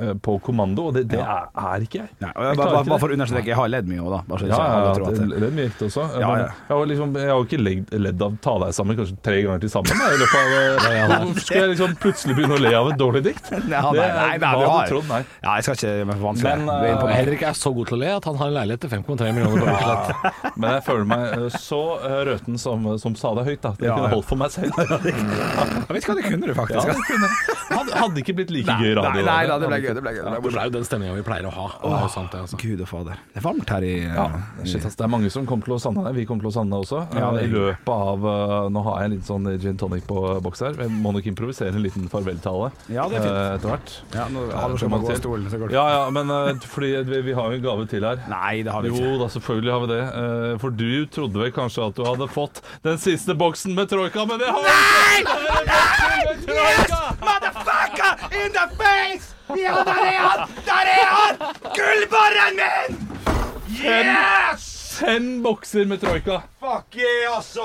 S4: eh, på kommando, og det, det er, er ikke jeg.
S3: Nei, og jeg, bare, bare, bare for å understreke, jeg har ledd mye òg, da. Bare så
S4: Ja,
S3: ikke
S4: ja,
S3: alle
S4: ja,
S3: tror at
S4: det, det er mye riktig også.
S3: Ja,
S4: Men
S3: ja.
S4: Jeg, har liksom, jeg har jo ikke legg- ledd av ta deg sammen kanskje tre ganger til sammen. da, I løpet av, eh,
S3: nei.
S4: Hvorfor skal jeg liksom plutselig begynne å le av et dårlig dikt?
S3: Nei, nei, nei, nei,
S4: hva
S3: du
S4: hadde
S3: har-
S4: du trodd, nei.
S3: Ja, jeg skal ikke gjøre meg for vanskelig.
S4: Men,
S3: Du er inne på
S4: eh,
S3: meg.
S5: Henrik er så god til å le at han har en leilighet til 5,3 millioner på Russland.
S4: Men jeg føler meg eh, så eh, røten som, som sa det høyt, da. Det
S5: Ja,
S4: kunne
S5: ja.
S4: holdt for meg selv.
S3: Jeg vet ikke hva det kunne du faktisk. altså.
S4: Ja, det kunne. Hadde, hadde ikke blitt like gøy
S5: Nei,
S4: radio.
S5: nei,
S4: da.
S5: nei, det ble gøy,
S3: det ble gøy.
S5: Ja, det ble jo den stemninga vi pleier å ha. Det er jo sant, det, altså.
S3: Gud og fader. Det er varmt her i eh,
S4: Ja, shit, ass, det er mange som kommer til å savne deg. Vi kommer til å savne deg også.
S3: Ja, det er
S4: I løpet av eh, Nå har jeg en liten sånn gin tonic på boks her. Jeg må nok improvisere en liten farveltale
S3: Ja, det er fint.
S4: eh, etter hvert.
S3: Ja, nå-
S4: Eh,
S3: Halvor skal bare
S4: kommer
S3: gå av
S4: til.
S3: stolen, så går det.
S4: Ja, ja, men eh, fordi vi, vi har jo en gave til her.
S3: Nei, det har vi
S4: Jo da, selvfølgelig har vi det. Eh, for du trodde vel kanskje at du hadde fått den siste boksen med troika, men det har du ikke!
S6: Yes! Motherfucker! In the face! Ja, der er han! Der er han! Gullbarren min! Yes!
S4: Fem bokser med troika.
S6: Fuck yeah, altså!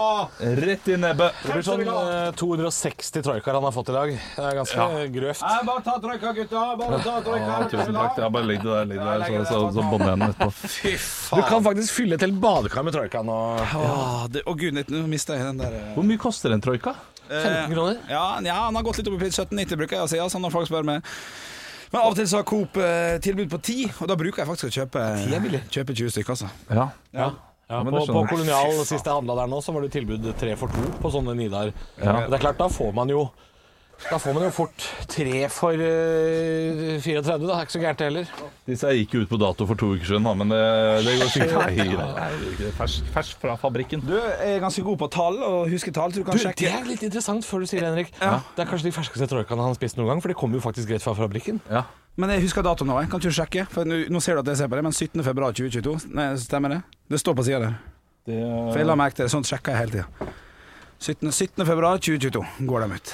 S4: Rett i nebbet.
S5: Det blir sånn eh, 260 troikaer han har fått i dag. Det er ganske
S4: Ja.
S5: grøvt.
S6: Nei, bare ta trøykka, gutta. Bare ta trøykka.
S4: Ja, tusen takk. Ja, bare legg det der, legg det der, så, så, så bånder jeg den etterpå. Fy
S5: Du kan faktisk fylle et helt badekar med troika nå.
S3: Åh, det, å gud, nå mista jeg den der eh.
S4: Hvor mye koster en troika?
S5: 15 kroner?
S3: Ja, ja, han har gått litt opp i pris. 17,90 bruker jeg å si, altså, når folk spør meg. Men av og til så har Coop eh, tilbud på 10, og da bruker jeg faktisk å kjøpe, kjøpe 20 stykker. Altså.
S4: Ja.
S5: Ja.
S3: Ja, men
S5: på,
S3: det skjønner
S5: på
S3: jeg.
S5: Kolonial
S3: Fy faen.
S5: sist jeg handla der nå, så var det tilbud tre for to på sånne Nidar.
S4: Ja.
S5: Det er klart, da får man jo Da får man jo fort tre for eh, 34, da. Det er ikke så gærent, det heller.
S4: Disse her gikk jo ut på dato for to uker siden, da, men det, det går sikkert Nei, nei, det er fersk, fersk fra fabrikken.
S3: Du er ganske god på tall og husker tall, så du kan
S5: Du,
S3: sjekke.
S5: Det er litt interessant før du sier det, Henrik. Det er kanskje de ferskeste troikaene han har spist noen gang, for de kommer jo faktisk rett fra fabrikken.
S3: Men jeg husker datoen nå, jeg. kan ikke du sjekke? For nå, nå ser du at jeg ser på det, men 17. februar 2022, nei, stemmer det? Det står på sida der. For jeg la merke til det, sånt sjekker jeg hele tida. 17. 17. februar 2022 går de ut.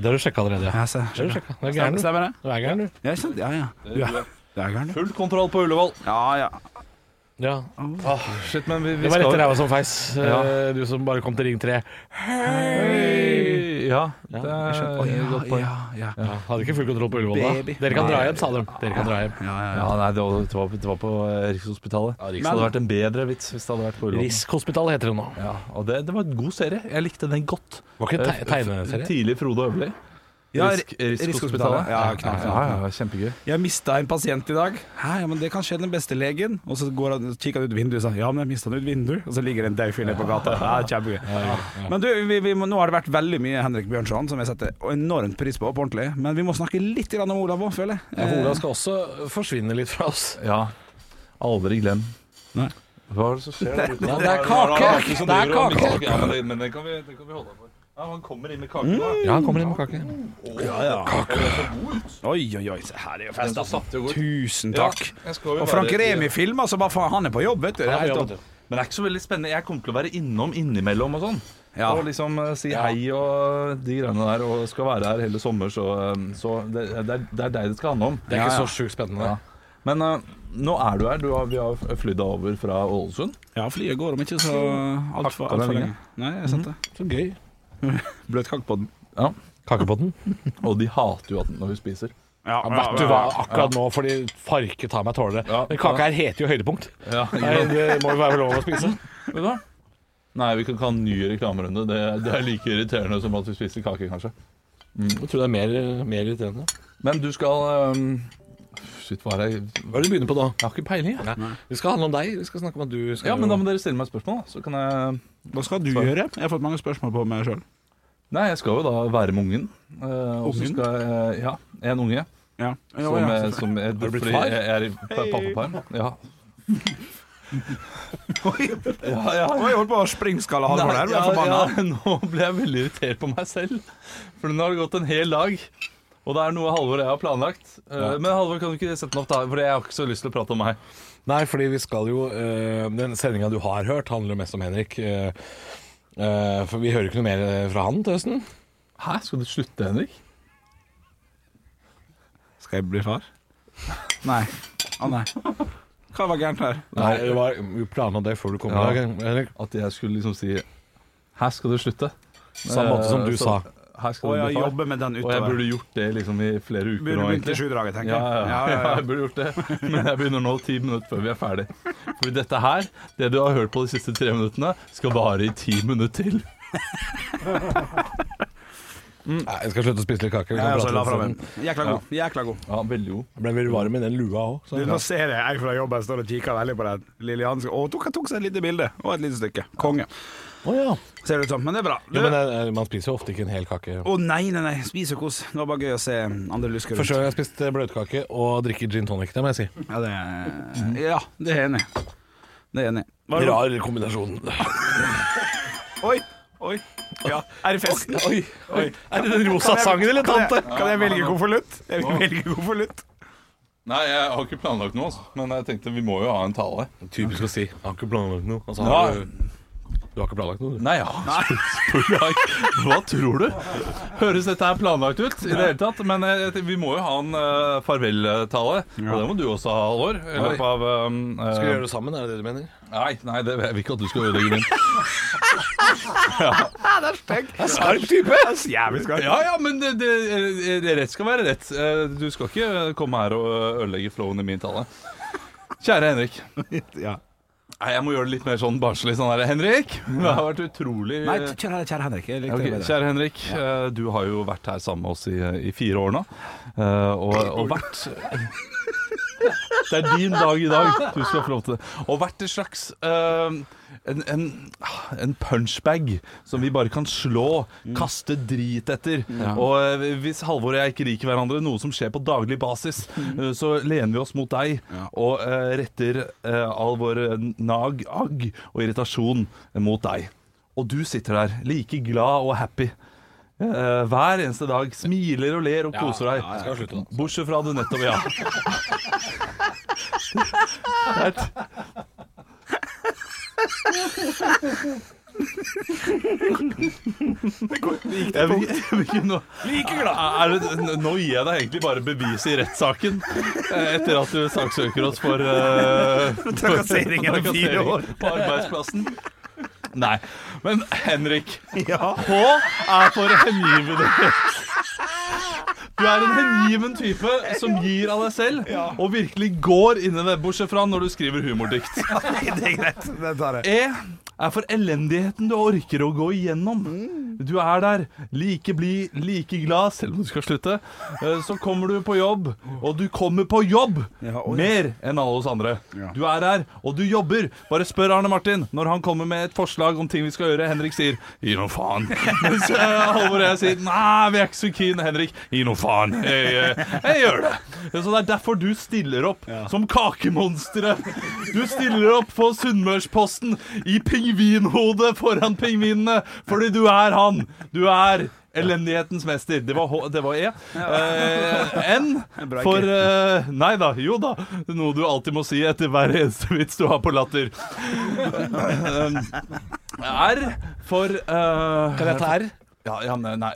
S5: Det har du sjekka allerede,
S3: ja. se,
S5: Det har du sjekket. Du er gæren, du.
S3: Stemmer det?
S5: Du er gæren, du.
S3: Ja, ikke sant? ja, ja.
S4: Det er
S3: ja. Det er gæren, du.
S4: Full kontroll på Ullevål.
S3: Ja, ja.
S5: Ja.
S4: Ah, shit, men vi, vi
S5: Det var
S4: skal-
S5: etter ræva som feis,
S4: Ja.
S5: eh, du som bare kom til Ring 3.
S4: Ja,
S5: Ja,
S4: det
S5: jeg
S4: er
S5: skjønte. Å, ja,
S4: et godt poeng.
S5: ja, ja. Hadde ikke full kontroll på Ullevål da.
S4: Baby.
S5: Dere kan
S4: Nei.
S5: dra hjem, sa de. Dere kan dra hjem.
S4: Ja, nei, det var, det var, det var på eh, Rikshospitalet. det
S5: Men-
S4: hadde vært en bedre vits hvis det hadde vært på Ullevål.
S5: Rikshospitalet heter det nå.
S4: Ja, og det, det var en god serie. Jeg likte den godt.
S5: Var ikke det te-
S4: Eh, f-
S5: tegneserie?
S4: Tidlig Frode Øverli.
S3: Ja,
S4: Risk-
S3: Ri-
S4: Rikshospitalet.
S3: Ja, knallfint.
S4: ja, ja, ja, kjempegøy.
S3: Jeg mista en pasient i dag. Hæ, ja, men det kan skje den beste legen. Og så går han, kikker han ut vinduet og sier ja, men jeg mista den ut vinduet. Og så ligger det en daud fyr nede på gata. Ja, det er kjempegøy. Men du, vi, vi må, nå har det vært veldig mye Henrik Bjørnson, som jeg setter enormt pris på, på ordentlig. Men vi må snakke litt grann om Olav òg, føler jeg.
S5: Ja, for Olav skal også forsvinne litt fra oss.
S4: Ja. Aldri glem.
S3: Nei.
S4: Hva er det som skjer?
S5: Det-
S4: der ute nå?
S5: det er kake!
S4: Nå det som
S5: Det er
S4: driver og
S5: kake!
S4: mikser- Ja, men det- Men den kan vi, den kan vi holde på. Ja, han kommer inn med kake nå.
S5: Mm. Ja, han kommer inn med kake.
S4: Ja, ja.
S3: Oi, oi, oi, se her er jo fest,
S4: Den
S3: altså.
S4: som satte jo går.
S3: Tusen takk.
S4: Ja, jeg skal jo
S3: og Frank
S4: være-
S3: Remi filmer, så bare faen, han er på jobb, vet du. Det er helt topp.
S4: Men det er ikke så veldig spennende. Jeg kommer til å være innom innimellom og sånn.
S3: Ja.
S4: Og liksom eh, si hei og de greiene der, og skal være her hele sommer, så, eh, så det, det, er, det er deg det skal handle om.
S5: Det er ikke så sjukt spennende.
S4: Ja. Men eh, nå er du her. Du har, vi har flydd deg over fra Ålesund.
S3: Ja, flyet går om ikke så altfor alt
S4: Hakka
S3: for
S4: deg
S3: lenge. Nei, jeg sant det.
S5: Så gøy.
S3: Bløt kake på den.
S4: Ja.
S5: Kakepodden.
S4: Og de hater jo at når vi spiser.
S3: Ja,
S5: Ja, vet du hva, akkurat nå, fordi farke tar meg tålere. Men kaka her heter jo høydepunkt.
S4: Ja,
S5: Nei, det må jo være lov å spise.
S4: Vet du hva? Nei, vi kan ikke ha en ny reklamerunde. Det, det er like irriterende som at vi spiser kake, kanskje.
S5: Jeg tror det er mer, mer irriterende.
S4: Men du skal ehm, Shit, hva er det
S5: Hva er det du begynner på da?
S4: Jeg har ikke peiling, jeg.
S5: Nei. Det skal handle om deg. Vi skal snakke om at du skal
S4: Ja, men da må dere stille meg et spørsmål, da. Så kan jeg
S3: Hva skal du gjøre? Jeg har fått mange spørsmål på meg sjøl.
S4: Nei, jeg skal jo da være med ungen. eh, og så
S3: Ungen?
S4: skal jeg Ja, en unge.
S3: Ja. Ja,
S4: Som,
S3: ja,
S4: eh,
S3: selvfølgelig.
S4: som er,
S3: Har du blitt
S4: fordi
S3: far?
S4: Jeg er i pa- pappaperm. Ja.
S3: Ja, ja. Jeg holdt på å springskalle Halvor der.
S4: ja,
S3: Jeg forbanna.
S4: ja, nå ble jeg veldig irritert på meg selv. For nå har det gått en hel dag. Og det er noe Halvor og jeg har planlagt. Eh,
S5: Ja.
S4: Men Halvor, kan du ikke sette den opp da? For jeg har ikke så lyst til å prate om meg.
S5: Nei, fordi vi skal jo eh, Den sendinga du har hørt, handler jo mest om Henrik. eh, eh, for vi hører ikke noe mer eh, fra han til høsten.
S4: Hæ, skal du slutte, Henrik?
S3: Skal jeg bli far? Nei. Å nei. Hva var gærent her?
S5: Nei, det var, Vi planla det før du kom i dag, Henrik.
S4: At jeg skulle liksom si Her skal du slutte.
S5: Samme måte som du
S4: Eh, så-
S5: sa.
S4: Her skal
S3: Og
S4: du
S3: jeg
S4: bli far.
S3: jobber med den
S4: Og jeg
S3: utover.
S4: burde gjort det liksom i flere uker
S3: Burde
S4: nå,
S3: begynt i
S4: egentlig.
S3: sjudraget, tenker jeg.
S4: Ja, ja, ja,
S3: Ja, ja, ja.
S4: jeg burde gjort det. Men jeg begynner nå ti minutter før vi er ferdig. Fordi dette her, det du har hørt på de siste tre minuttene, skal vare i ti minutter til.
S5: Nei, jeg skal slutte å spise litt kake. Vi
S3: Ja, altså,
S5: kan prate
S3: la
S5: litt
S3: fram
S5: sammen.
S3: den. Jækla god. Jækla god.
S4: Ja, veldig god.
S5: Jeg ble veldig varm i den lua òg.
S3: Du, nå ser jeg jeg fra jobben står og kikker veldig på den lille Hansen. Og tok, tok seg et lite bilde. Og et lite stykke. Konge. Ser det ut som. Men det er bra.
S5: Jo, men eh, man spiser jo ofte ikke en hel kake.
S3: Å nei, nei, nei. Spis og kos. Det var bare gøy å se andre lusker
S5: For
S3: rundt.
S5: selv har jeg spist eh, bløtkake og drikker gin tonic, det må jeg si.
S3: Ja, det er, ja, det er jeg enig. i. Det er jeg enig. i. Hva er det-
S5: Rar kombinasjon.
S3: Oi, oi. Ja, er det fest?
S5: Oi, oi. Er det den rosa sangen, eller,
S3: Kan jeg-
S5: tante?
S3: Kan jeg velge konvolutt? Jeg vil velge konvolutt.
S4: Nei, jeg har ikke planlagt noe, altså. men jeg tenkte vi må jo ha en tale.
S5: Typisk å si. Jeg har ikke planlagt noe. Altså,
S4: Ja.
S5: har du, du Du har ikke planlagt noe?
S4: Nei, ja. Hva tror du? Høres dette her planlagt ut i det hele tatt? Men eh, vi må jo ha en eh, farveltale, og det må du også ha, Halvor. I løpet av eh,
S5: Skal vi gjøre det sammen, er det det du mener?
S4: Nei, nei, det jeg vil ikke at du skal ødelegge min. ja.
S6: Det er stygt.
S4: Det er skarp type! Jævlig skarp. Ja, ja, men det, det, eh, rett skal være rett. Eh, Du skal ikke komme her og ødelegge flowen i min tale. Kjære Henrik. Nei, jeg må gjøre det litt mer sånn barnslig. Sånn der. Henrik, det har vært utrolig
S3: Nei, kjære, kjære Henrik. Jeg likte
S4: Ok,
S3: det bedre.
S4: kjære Henrik, eh, du har jo vært her sammen med oss i, i fire år nå. eh, Og, og vært Det er din dag i dag. Du skal få lov til det. Og vært en slags eh, en, en, en punchbag som vi bare kan slå, kaste drit etter.
S16: Ja.
S4: Og eh, hvis Halvor og jeg ikke liker hverandre, noe som skjer på daglig basis, eh, så lener vi oss mot deg og eh, retter eh, all vår nag, agg og irritasjon mot deg. Og du sitter der like glad og happy. eh, hver eneste dag smiler og ler og
S5: Ja,
S4: koser deg.
S5: ja, jeg skal slutte nå.
S4: Bortsett fra du nettopp Ja. Jeg vil, jeg vil ikke nå
S6: Like glad.
S4: Er det, nå gir jeg deg egentlig bare bevis i rettssaken eh, etter at du saksøker oss for eh,
S6: For trakassering gjennom
S4: for
S6: fire år.
S4: trakassering på arbeidsplassen. Nei. Men Henrik, H er for hengivenhet. Du er en hengiven type som gir av deg selv, og virkelig går inn i det, bortsett fra når du skriver humordikt.
S3: Det er greit. Det tar jeg.
S4: E er for elendigheten du orker å gå igjennom.
S3: Mm.
S4: Du er der, like blid, like glad, selv om du skal slutte. Eh, Så kommer du på jobb, og du kommer på jobb mer enn alle oss andre. Du er her, og du jobber. Bare spør Arne Martin når han kommer med et forslag om ting vi skal gjøre. Henrik sier 'gi noe faen'. Mens eh, Halvor og jeg sier 'nei, vi er ikke så keen', Henrik. 'Gi noe faen'. Jeg, eh, jeg gjør det. Så det er derfor du stiller opp som kakemonsteret. Du stiller opp på Sunnmørsposten i pingvinhode foran pingvinene, fordi du er han. Du er Elendighetens mester. Det var, H, det var E. Eh, N
S16: Bra,
S4: for
S16: ikke?
S4: eh, Nei da, jo da. Noe du alltid må si etter hver eneste vits du har på latter. Eh, R for eh,
S5: Kan jeg ta R?
S4: Ja, ja, nei, nei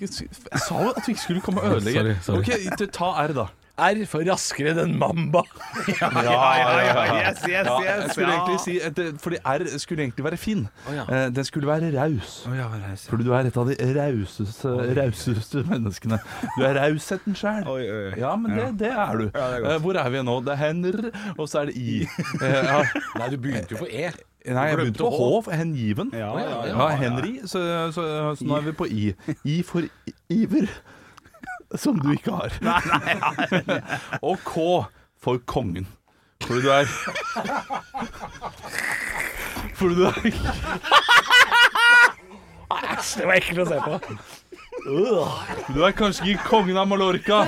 S4: Jeg sa jo at vi ikke skulle komme og ødelegge.
S5: Sorry, sorry.
S4: Ok, t- ta R, da.
S5: R for raskere enn en mamba.
S4: Ja, Ja, Jeg skulle egentlig si at det- Fordi R skulle egentlig være fin. Eh, Den skulle være raus. Fordi du er et av de rauseste, rauseste menneskene. Du er rausheten sjæl. Ja, men det, det er du.
S16: Ja, det er godt.
S4: Eh, Hvor er vi nå? Det er hender, og så er det I. Eh, ja.
S5: Nei, du begynte jo på E.
S4: Nei, jeg begynte på H, for hengiven. Ja,
S5: ja, ja.
S4: Henry. Så, så, så nå er vi på I. I for i- iver, som du ikke har. Og K for kongen. Fordi du er Fordi du er
S5: Æsj, det var ekkelt å se på.
S4: Du er kanskje ikke kongen av Mallorca,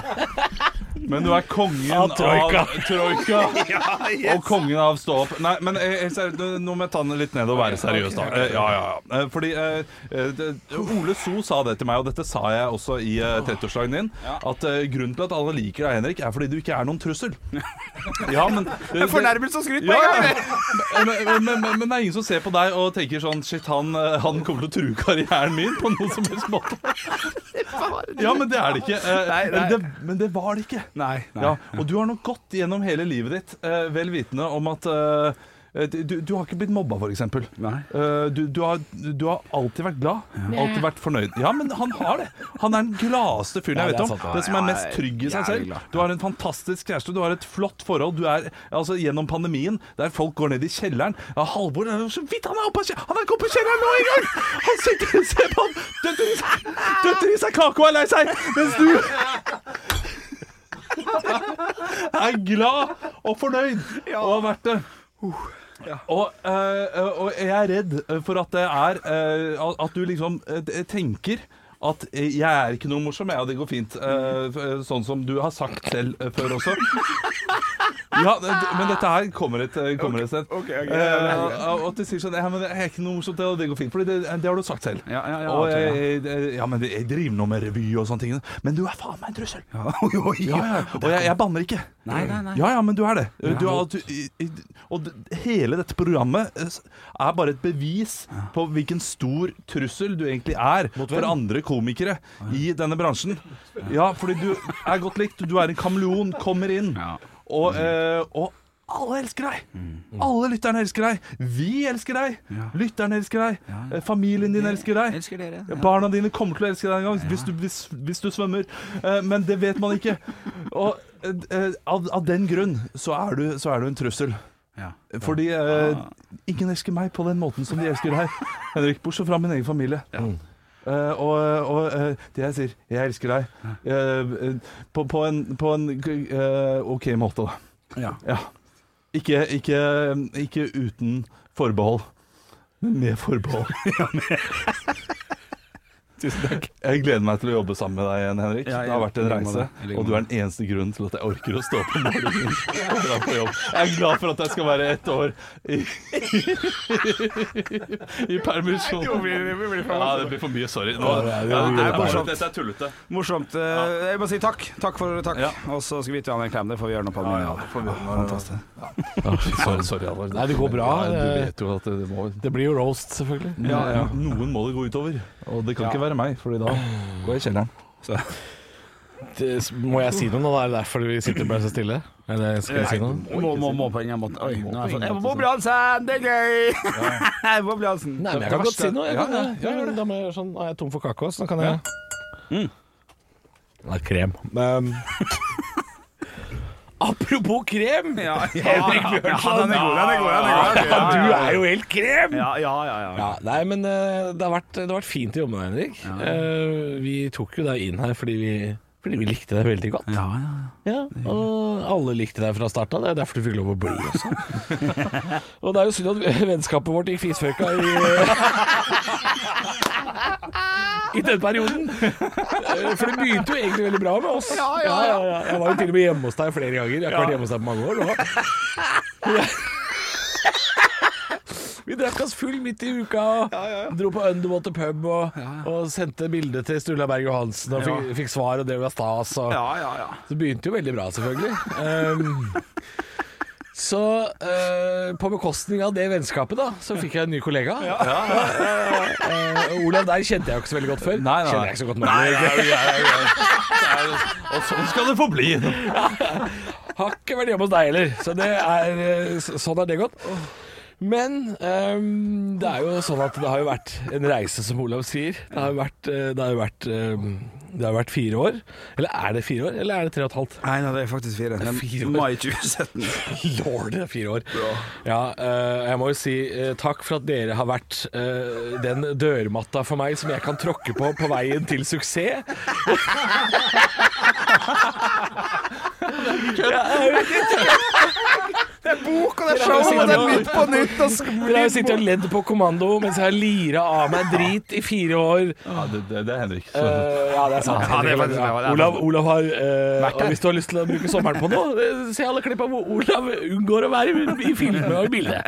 S4: men du er kongen
S5: Av
S4: av
S5: Troika.
S4: Troika.
S6: Ja, yes.
S4: Og kongen av stå opp. Nei, men eh, eh, seri- nå må jeg ta den litt ned og være seriøs, da. Eh, Ja, ja, ja. Eh, Fordi eh, eh, det- Ole So sa det til meg, og dette sa jeg også i eh, 30-årsdagen din, at eh, grunnen til at alle liker deg, Henrik, er fordi du ikke er noen trussel. Ja, men
S3: Det er fornærmelse og skryt på en
S4: Ja,
S3: gang,
S4: ja.
S3: eller?
S4: Men, men, men, men, men det er ingen som ser på deg og tenker sånn Shit, han, eh, han kommer til å true karrieren min på noen som helst måte. Ja, men det er det ikke. Eh,
S6: Nei, nei.
S4: Men, det, men det var det ikke. Ja, og du har nok gått gjennom hele livet ditt eh, vel vitende om at eh, du, du har ikke blitt mobba, f.eks. Uh, du, du, har- du har alltid vært glad.
S16: Ja.
S4: Alltid vært fornøyd. Ja, men han har det! Han er den gladeste fyren
S16: Ja,
S4: jeg
S16: det
S4: vet
S16: er
S4: om.
S16: sant.
S4: Den som
S16: Ja,
S4: er
S16: ja,
S4: mest trygg i
S16: jævlig
S4: seg selv.
S16: glad.
S4: Du har en fantastisk kjæreste, du har et flott forhold. Du er altså gjennom pandemien, der folk går ned i kjelleren. Ja, Halvor er jo så vidt han er oppe av kjelleren! Han er ikke oppe i kjelleren nå engang! Han sitter og ser på han! Døtter i seg, døtter i seg kake og er lei seg! Mens du er glad og fornøyd og har vært det. Og, eh, og jeg er redd for at det er eh, At du liksom eh, tenker at jeg er ikke
S3: Mm.
S4: noe morsom, jeg, og det går fint. eh, f- eh, sånn som du har sagt selv eh, før også. eh, Ja, det- men dette her kommer et eh, kommer et sted.
S3: ok,
S4: Eh,
S3: ok,
S4: og- og at de sier sånn Ja, men det er ikke noe morsomt, det, og det går fint. For det, det har du sagt selv.
S3: ja,
S4: og, eh,
S3: ja.
S4: jeg, jeg- ja, men jeg driver nå med revy og sånne ting. Men du er faen meg en trussel!
S3: Ja, oi, oi, oi.
S4: ja, ja. Og jeg, jeg banner ikke.
S3: Nei, nei, nei.
S4: Ja, ja, men du er det.
S3: Ja.
S4: Du er, du, i- i- og d- hele dette programmet eh, s- er bare et bevis på hvilken stor trussel du egentlig er for andre komikere i denne bransjen. Ja, fordi du er godt likt. Du er en kameleon, kommer inn. Og,
S3: Mm.
S4: eh, og alle elsker deg! Alle lytterne elsker deg. Vi elsker deg. Lytterne elsker deg. Eh, Familien din elsker deg. Barna dine kommer til å elske deg en gang hvis, du, hvis, hvis du svømmer. Eh, Men det vet man ikke. Og eh, eh, av, av den grunn så er du, så er du en trussel. Fordi eh, ingen elsker meg på den måten som de elsker deg, Henrik. Bortsett fra min egen familie. Eh, og og eh, det jeg sier Jeg elsker deg. eh, eh, på, på en, på en eh, OK måte, da.
S3: Ja.
S4: Ikke, ikke, ikke uten forbehold, men med forbehold. Tusen takk. Jeg gleder meg til å jobbe sammen med deg igjen, Henrik.
S3: Ja, jeg-
S4: det har vært en
S3: jeg liker meg
S4: reise,
S3: det. Jeg liker
S4: og du er den eneste grunnen til at jeg orker å stå opp om morgenen og dra på jobb. Jeg er glad for at jeg skal være ett år i, i permisjon.
S3: Jo, vi- vi blir for-
S4: Ja, det blir for mye. Sorry. Nå,
S3: Ja, det er- det er-
S4: ja,
S3: det er
S4: dette, er,
S3: morsomt.
S4: dette er tullete.
S3: Morsomt. Eh, Jeg må si takk. Takk for takk. Og så skal vi gi han en klem. Det får vi gjøre nå på den. Ja, Fantastisk.
S4: Sorry, sorry Halvor.
S5: Nei, det går bra.
S4: Nei, du vet jo at det må
S5: Det blir jo roast, selvfølgelig.
S4: ja, ja. Noen må det gå utover, og det kan
S5: Ja.
S4: ikke være meg, Fordi da går jeg i kjelleren. Så.
S5: Det, må jeg si noe nå? da? Er det derfor vi sitter bare så stille? Eller skal jeg si noe?
S3: Nei, Må, må, må på ingen måte. Oi, nå er jeg fått- jeg må bli Hansen! Det er gøy! Jeg må bli Hansen.
S5: Nei, men jeg kan godt si noe. Jeg kan, ja, ja, da må jeg gjøre sånn, er jeg tom for kake også, så kan jeg Mm. Nei, krem. Men Apropos krem! Henrik Bjørnson!
S3: Ja, den er god, den er god, den er god.
S5: Ja,
S3: Ja, ja, ja.
S5: Du er jo helt krem!
S3: Ja, ja, ja, ja.
S5: Ja, nei, men eh, det, har vært, det har vært fint å jobbe med deg, Henrik. Eh, vi tok jo deg inn her fordi vi, fordi vi likte deg veldig godt.
S3: Ja,
S5: ja, Og alle likte deg fra starten av. Det er derfor du fikk lov å bli også. og det er jo synd at vennskapet vårt gikk fisføka i, i den perioden. Eh, For det begynte jo egentlig veldig bra med oss.
S6: Ja, ja, ja.
S5: Jeg var jo til og med hjemme hos deg flere ganger. Jeg har ikke vært hjemme hos deg på mange år nå. Vi drakk oss full midt i uka og dro på Underwater pub og, og sendte bilde til Sturla Berg Johansen og fikk,
S3: Ja.
S5: fikk svar, og det var stas. Og,
S3: Ja, ja, ja.
S5: Så det begynte jo veldig bra, selvfølgelig. Um, så eh, på bekostning av det vennskapet, da, så fikk jeg en ny kollega. Eh, og Olav der kjente jeg jo ikke så veldig godt før.
S4: nei.
S5: Kjenner jeg ikke så godt nå.
S4: Nei, nei,
S5: egentlig.
S4: nei, nei, Og sånn skal det få bli.
S5: Har ikke vært hjemme hos deg heller, så det er, eh, så- sånn er det gått. Men ehm, det er jo sånn at det har jo vært en reise, som Olav sier. Det har jo vært, eh, det har jo vært, ehm, det har jo vært fire år. Eller er det fire år, eller er det tre og et halvt?
S3: Nei, nei, det er faktisk fire. Men mai 2017.
S5: Lord, det er fire år. Ja, eh, jeg må jo si eh, takk for at dere har vært eh, den dørmatta for meg som jeg kan tråkke på på veien til suksess.
S6: Det er bok, og det er
S5: Dere har
S6: show,
S5: jo
S6: og det er
S5: sittet-
S6: nytt på nytt.
S3: altså?
S6: Og
S5: Dere har jo sittet og ledd på kommando mens jeg har lira av meg drit i fire år.
S4: Ja, det, det, det er Henrik.
S5: Eh, ja, det er sant.
S4: Ja, det er faktisk- ja, det er-
S5: Olav, Olav har eh,
S4: Vært der.
S5: og Hvis du har lyst til å bruke sommeren på noe, eh, se alle klippa hvor Olav unngår å være i- i filmer og i bilder.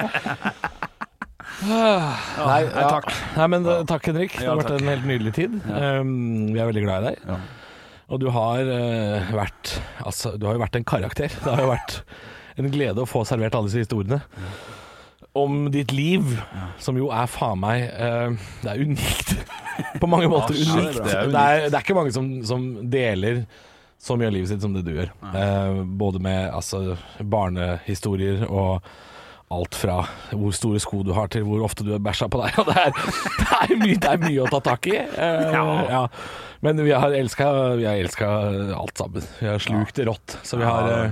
S5: Nei,
S3: nei,
S5: ja.
S3: takk.
S5: Nei, men eh, takk, Henrik. Det
S3: Ja,
S5: har vært
S3: takk.
S5: en helt nydelig tid. Um, vi er veldig glad i deg. Og du har eh, vært Altså, du har jo vært en karakter. Det har jo vært en glede å få servert alle disse historiene. Om ditt liv, som jo er faen meg eh, Det er unikt. På mange måter
S4: Ja,
S5: unikt.
S4: shit,
S5: Det
S4: det er
S5: er,
S4: unikt.
S5: det er, ikke mange som, som deler så mye av livet sitt som det du gjør. Eh, både med altså, barnehistorier og alt fra hvor store sko du har til hvor ofte du har bæsja på deg. Og det er, det er, mye, det er mye å ta tak i. Eh, ja. Men vi har elska vi har elsket eh, alt sammen. Vi har slukt det rått. Så vi har, eh,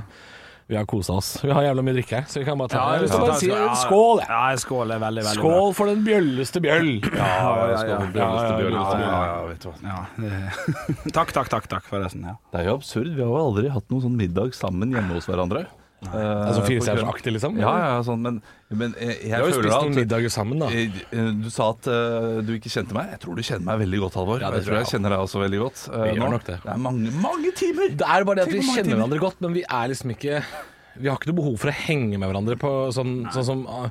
S5: vi har kosa oss. Vi har jævla mye drikke her, så vi kan bare ta
S3: Ja,
S5: Jeg har
S3: vi
S5: lyst til å
S3: kan
S5: bare
S3: ta-
S5: si
S3: ja.
S5: skål. jeg.
S3: Ja, skål er veldig, veldig bra.
S5: Skål for den bjølleste bjøll.
S3: Ja, ja, ja.
S4: Bjølleste bjøll, bjølleste bjøll.
S3: Ja, det- Takk, takk, takk, takk forresten. Ja.
S4: Det er jo absurd. Vi har jo aldri hatt noen sånn middag sammen hjemme hos hverandre. Eh,
S5: Altså
S4: på
S5: firestjernersaktig,
S4: kvelden.
S5: liksom?
S4: Ja, ja, sånn, men, men jeg, jeg
S5: Vi har jo
S4: føler
S5: spist
S4: at-
S5: noen middager sammen, da.
S4: Eh, eh, Du sa at eh, du ikke kjente meg. Jeg tror du kjenner meg veldig godt, Halvor.
S5: Ja, det
S4: jeg tror
S5: tror jeg
S4: jeg kjenner deg også veldig godt. eh,
S5: Vi gjør
S4: nå.
S5: nok det.
S4: Det er mange, mange timer!
S5: Det er bare det at
S4: Tenk hvor
S5: vi
S4: mange
S5: kjenner
S4: timer.
S5: hverandre godt, men vi er liksom ikke Vi har ikke noe behov for å henge med hverandre på sånn, sånn som ah,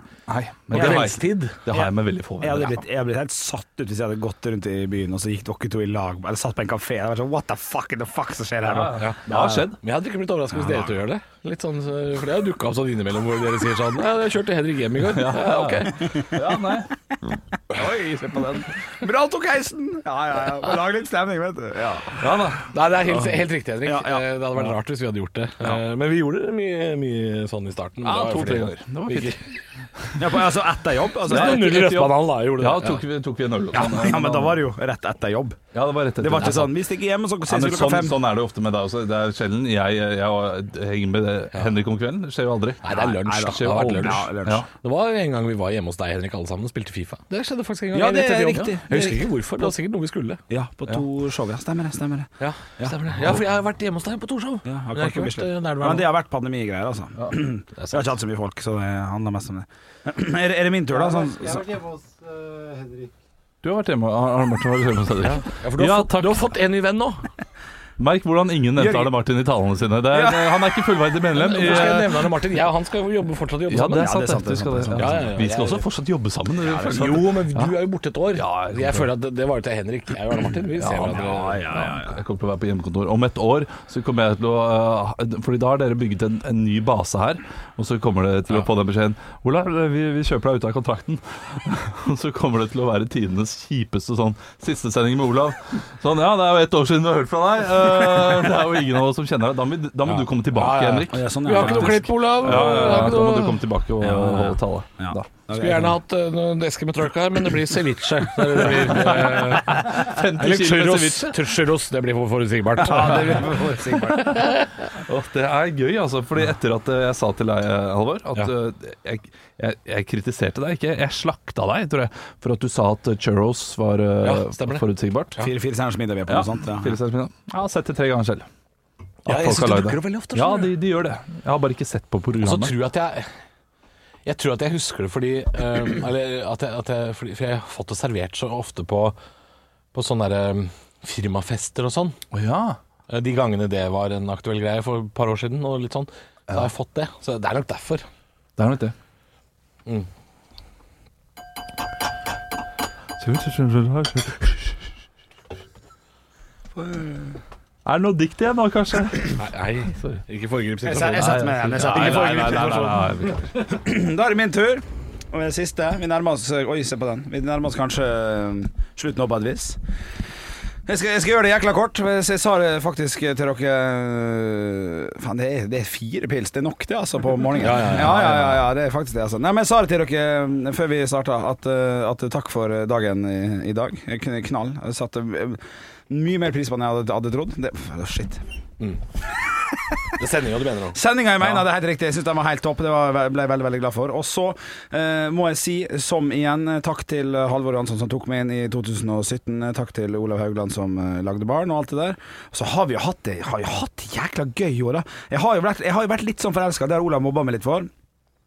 S5: på kveldstid.
S3: Jeg hadde, blitt, jeg hadde blitt helt satt ut hvis jeg hadde gått rundt i byen og så gikk dere to i lag Eller satt på en kafé. Det var sånn, What the fuck the fuck som skjer her nå?
S5: Ja, ja. Men jeg hadde ikke blitt overraska hvis dere to gjør det. Litt sånn, så- for det har dukka opp sånn innimellom hvor dere sier sånn Ja, jeg kjørte Henrik hjem i går. Ja, ok.
S4: Mm.
S3: Oi, se på den. Bra, tok heisen! Ja, ja, ja. Bare Lag litt stemning, vet du. Ja.
S5: Nei, det er helt, helt riktig, Henrik. Eh, Det hadde vært rart hvis vi hadde gjort det. Eh, Men vi gjorde det mye, mye sånn i starten.
S4: Ja,
S5: Det var jo
S4: to-tre
S5: flere
S4: ganger. Det var
S5: Vi-
S4: fint.
S3: Ja, på- altså etter jobb? Altså,
S5: Nei,
S3: etter-
S5: null i Røstbanan, da, gjorde det.
S4: Ja, tok vi, tok vi en øl. og
S3: Ja,
S4: sånn.
S3: ja, men da var det jo rett etter jobb.
S4: Ja, det var rett etter.
S3: Det var ikke sånn Vi stikker hjem, og så
S4: Ja,
S3: ses vi
S4: men
S3: klokka
S4: sånn,
S3: fem.
S4: sånn er det jo ofte med deg også. Det er sjelden jeg, jeg, henger med Henrik om kvelden. Det skjer jo aldri.
S5: Nei, det er lunsj. da.
S4: Nei,
S5: Det har vært lunsj.
S4: Ja, lunsj.
S5: Ja. Det var en gang vi var hjemme hos deg, Henrik, alle sammen og spilte Fifa. Det skjedde faktisk en gang.
S3: Ja, det
S5: rett
S3: er
S5: etter jobb.
S3: riktig.
S5: Jeg husker ikke hvorfor, det var sikkert noe vi skulle.
S3: Ja, på to show, ja. Stemmer det. stemmer det
S5: Ja, stemmer det. Ja, for jeg har vært hjemme hos deg på Torshov.
S3: Ja, har
S5: Men jeg har
S3: ikke
S5: ikke
S3: vært,
S5: vært, eh, der du er
S3: men
S5: nå.
S3: det har vært pandemigreier, altså. Vi har ikke hatt så mye folk, så det handler mest om det. Er, er det min tur, da? Sånn,
S6: Jeg har vært hjemme hos eh, Henrik.
S4: Du har vært hjemme, har, har Martin vært hjemme hos deg? Ja,
S5: for du har fått- du har fått en ny venn nå.
S4: Merk hvordan ingen nevnte Arne Martin i talene sine. Det er,
S5: Ja.
S4: det- Han er ikke fullverdig medlem.
S5: Hvorfor skal jeg nevne Arne Martin? Jeg og han skal jo jobbe, fortsatt jobbe
S4: Ja,
S5: sammen.
S4: det er sant. det. Du skal det.
S5: Ja, ja, ja.
S4: Vi skal også
S5: Jeg-
S4: fortsatt jobbe sammen.
S5: Ja, det er sant. Jo, men du er jo borte et år. jeg føler at det, det var jo til Henrik. Jeg og Arne Martin, vi ser eh, hverandre.
S4: Jeg kommer til å være på hjemmekontor. Om et år så kommer jeg til å eh, Fordi da har dere bygget en, en ny base her, og så kommer det til å få den beskjeden Ola, vi, vi kjøper deg ut av kontrakten. og så kommer det til å være tidenes kjipeste sånn siste sending med Olav. Sånn, ja, det er jo ett år siden du har hørt fra deg. Eh, det er jo ingen av oss som kjenner deg. Da må, da må du komme tilbake,
S5: Ja, ja.
S4: Henrik.
S5: Ja, sånn er Vi har det ikke noe faktisk. klipp, Olav.
S4: Ja, ja, ja,
S5: Vi har ikke
S4: da må
S5: noe-
S4: du komme tilbake og holde tale. Da.
S5: Skulle gjerne hatt eh, noen eske med trøkk her, men det blir ceviche. Det er det det blir, eh,
S4: 50
S5: eller
S4: kilo med
S5: churros. Churros, det blir for forutsigbart.
S4: Ja, det blir Og det er gøy, altså. Fordi etter at eh, jeg sa til deg, eh, Halvor, at eh, jeg, jeg, jeg kritiserte deg ikke. Jeg slakta deg, tror jeg, for at du sa at eh, churros var eh,
S3: Ja, stemmer det.
S4: forutsigbart.
S3: Fire, fire stjerners middag vi er på,
S4: Ja,
S3: noe sånt. Ja.
S4: fire stjerners middag. Jeg har sett det tre ganger selv.
S5: Ja,
S4: At
S5: jeg
S4: folk
S5: synes
S4: har
S5: det
S4: lagd
S5: dukker opp altså. veldig ofte,
S4: Ja,
S5: skjønner
S4: de, de gjør det. Jeg har bare ikke sett på
S5: Og så
S4: programmet.
S5: tror jeg at jeg Jeg tror at jeg husker det fordi eh, Eller at jeg, at jeg fordi, For jeg har fått det servert så ofte på På sånne der eh, firmafester og sånn Eh, De gangene det var en aktuell greie For et par år siden og litt sånn Så har jeg fått det Så det er nok derfor
S4: Det er nok det.
S5: Mm.
S4: Er det noe dikt igjen da, kanskje?
S5: Nei, ikke foregrip
S3: Jeg sa- jeg satte meg igjen, jeg satte meg igjen. sånn. Da er det min tur. Og det siste. Vi nærmer oss Oi, se på den. Vi nærmer oss kanskje eh, slutten nå på et vis. Jeg skal, jeg skal gjøre det jækla kort. for Jeg sa det faktisk til dere eh, Faen, det, er- det er fire pils. Det er nok, det, altså, på morgenen.
S5: Ja, ja, ja.
S3: ja, ja, ja, det er faktisk det, altså. Nei, men jeg sa det til dere eh, før vi starta, at, eh, at takk for dagen i, i dag. Jeg kunne- Knall. Jeg satte eh, mye mer pris på enn jeg hadde, hadde trodd. Det, shit.
S5: Det sender jo du mener nå
S3: Sendinga jeg mener, det er helt riktig. Jeg syns den var helt topp. Det var, ble jeg veldig, veldig glad for. Og så eh, må jeg si, som igjen, eh, takk til Halvor Johansson som tok meg inn i 2017. eh, Takk til Olav Haugland som eh, lagde barn og alt det der. Så har vi jo hatt det har jo hatt det jækla gøy i år, da. Jeg har jo vært, jeg har jo vært litt sånn forelska, det har Olav mobba meg litt for.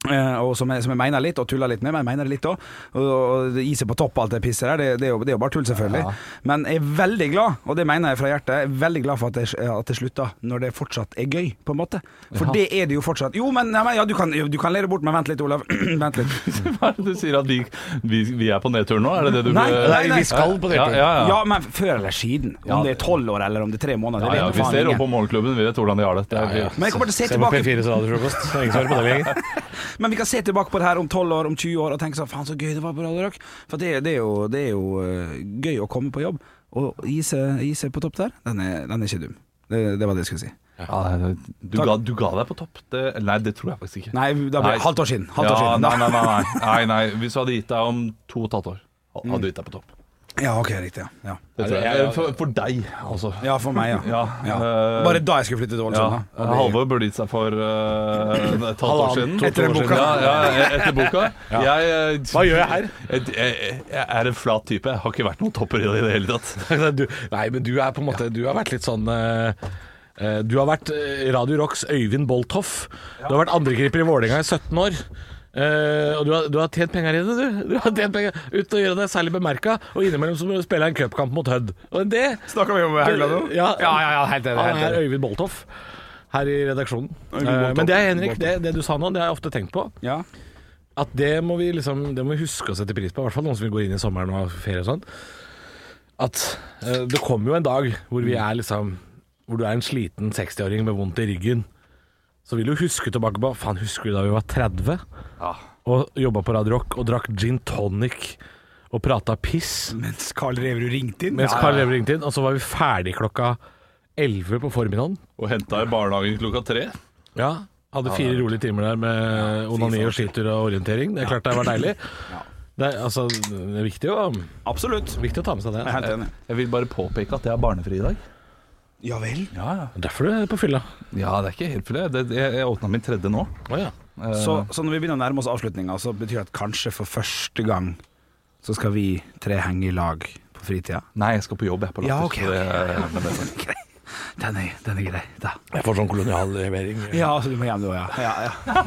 S3: Eh, og som jeg, som jeg mener litt, og tuller litt med, men jeg mener det litt òg. Og, og det iset på topp og alt det pisset der, det, det, er jo, det er jo bare tull, selvfølgelig. Men jeg er veldig glad, og det mener jeg fra hjertet, jeg er veldig glad for at det, at det slutta når det fortsatt er gøy, på en måte. For
S4: Jaha.
S3: det er det jo fortsatt. Jo, men, nei, men ja, du kan, jo, du kan le det bort, men vent litt, Olav. vent litt.
S4: Hva er det du sier at vi, vi, vi er på nedtur nå? Er det det du eh,
S3: Nei, nei, nei.
S4: Ja, ja, ja.
S3: men før eller siden. Om
S4: Ja.
S3: det er tolv år eller om det er tre måneder.
S4: Ja,
S3: det
S4: ja,
S3: vet
S4: vi
S3: faen
S4: ser
S3: ingen.
S4: opp på Morgenklubben, vi vet hvordan de har det. det er,
S3: Men jeg kommer til å se tilbake Men vi kan se tilbake på det her om 12 år, om 20 år og tenke sånn Faen, så gøy det var på Radio Rock. For det, det, er jo, det er jo eh, gøy å komme på jobb. Og gi seg gi seg på topp der, den er, den er ikke dum. Det, det var det jeg skulle si.
S4: Ja, det- du,
S3: Takk.
S4: ga, du ga deg på topp? Det, nei, det tror jeg faktisk ikke.
S3: Nei, da ble- halvt år siden, halvt år
S4: ja,
S3: siden.
S4: Nei, nei, nei, nei, nei, nei. Hvis du hadde gitt deg om to og et halvt år,
S3: Mm.
S4: hadde du gitt deg på topp.
S3: Ja, ok, riktig. Ja.
S4: Det tror jeg. For, for deg, altså.
S3: Ja, for meg, ja.
S4: eh,
S3: Bare da jeg skulle flytte til Ålesund, da.
S4: Ja, Halvor burde gitt seg for eh, et halvt år
S3: Halvannet,
S4: siden.
S3: to- Etter
S4: To år
S3: boka.
S4: siden. Ja, ja, etter boka.
S5: Ja.
S4: Jeg, eh,
S5: Hva gjør jeg her?
S4: Jeg, jeg, jeg er en flat type. Jeg har ikke vært noen topper i det i det hele tatt.
S5: du, Nei, men du er på en måte Du har vært litt sånn eh, eh, Du har vært eh, Radio Rocks Øyvind Bolthoff Du har vært andrekriper i Vålinga i 17 år Eh, og du har, du har tjent penger i det du Du har tjent penger Uten å gjøre deg særlig bemerket Og innimellom så må du spille en cupkamp mot Hødd Og det
S3: Snakker vi om Haugland nå?
S5: Ja,
S3: Ja, ja, ja, helt enig,
S5: Han
S3: helt
S5: er Øyvind Bolthoff her i redaksjonen.
S7: Godt
S5: Eh, Men det er
S7: opp.
S5: Henrik,
S7: Godt
S5: det, det du sa nå, det har jeg ofte tenkt på. At det må vi liksom Det må vi huske å sette pris på, i hvert fall noen som vil gå inn i sommeren og har ferie og sånn. At eh, det kommer jo en dag hvor vi er liksom Hvor du er en sliten 60-åring med vondt i ryggen. Så vil du huske tilbake på Faen, husker du da vi var 30? Og jobba på Radio Rock og drakk gin tonic og prata piss.
S3: Mens Carl Reverud ringte inn.
S5: Mens
S3: Ja, ja,
S5: Karl
S3: ja.
S5: Reverud ringte inn, og så var vi ferdig klokka 11 på formiddagen.
S4: Og henta i barnehagen klokka tre.
S5: Ja, hadde fire
S4: Ja, det er
S5: rolige timer der med onani og skitur og orientering. Det er klart det var deilig. Det er, altså, det er viktig å
S3: Absolutt.
S5: Viktig å ta med seg det.
S4: Jeg er helt enig. Jeg vil bare påpeke at jeg er barnefri i dag.
S3: Ja vel?
S4: Ja, ja.
S5: Derfor du er på fylla?
S4: Ja, det er ikke helt fylla. Det- Jeg, jeg åpna min tredje nå. Eh,
S3: Så, så når vi begynner å nærme oss avslutninga, så betyr det at kanskje for første gang så skal vi tre henge i lag på fritida.
S4: Nei, jeg skal på jobb, jeg. På
S3: Ja,
S4: Latter,
S3: ok,
S4: så det-
S3: Grei. Den er, den er grei, da.
S5: Jeg får sånn kolonial levering.
S3: Ja, så du må hjem nå, ja. ja, ja.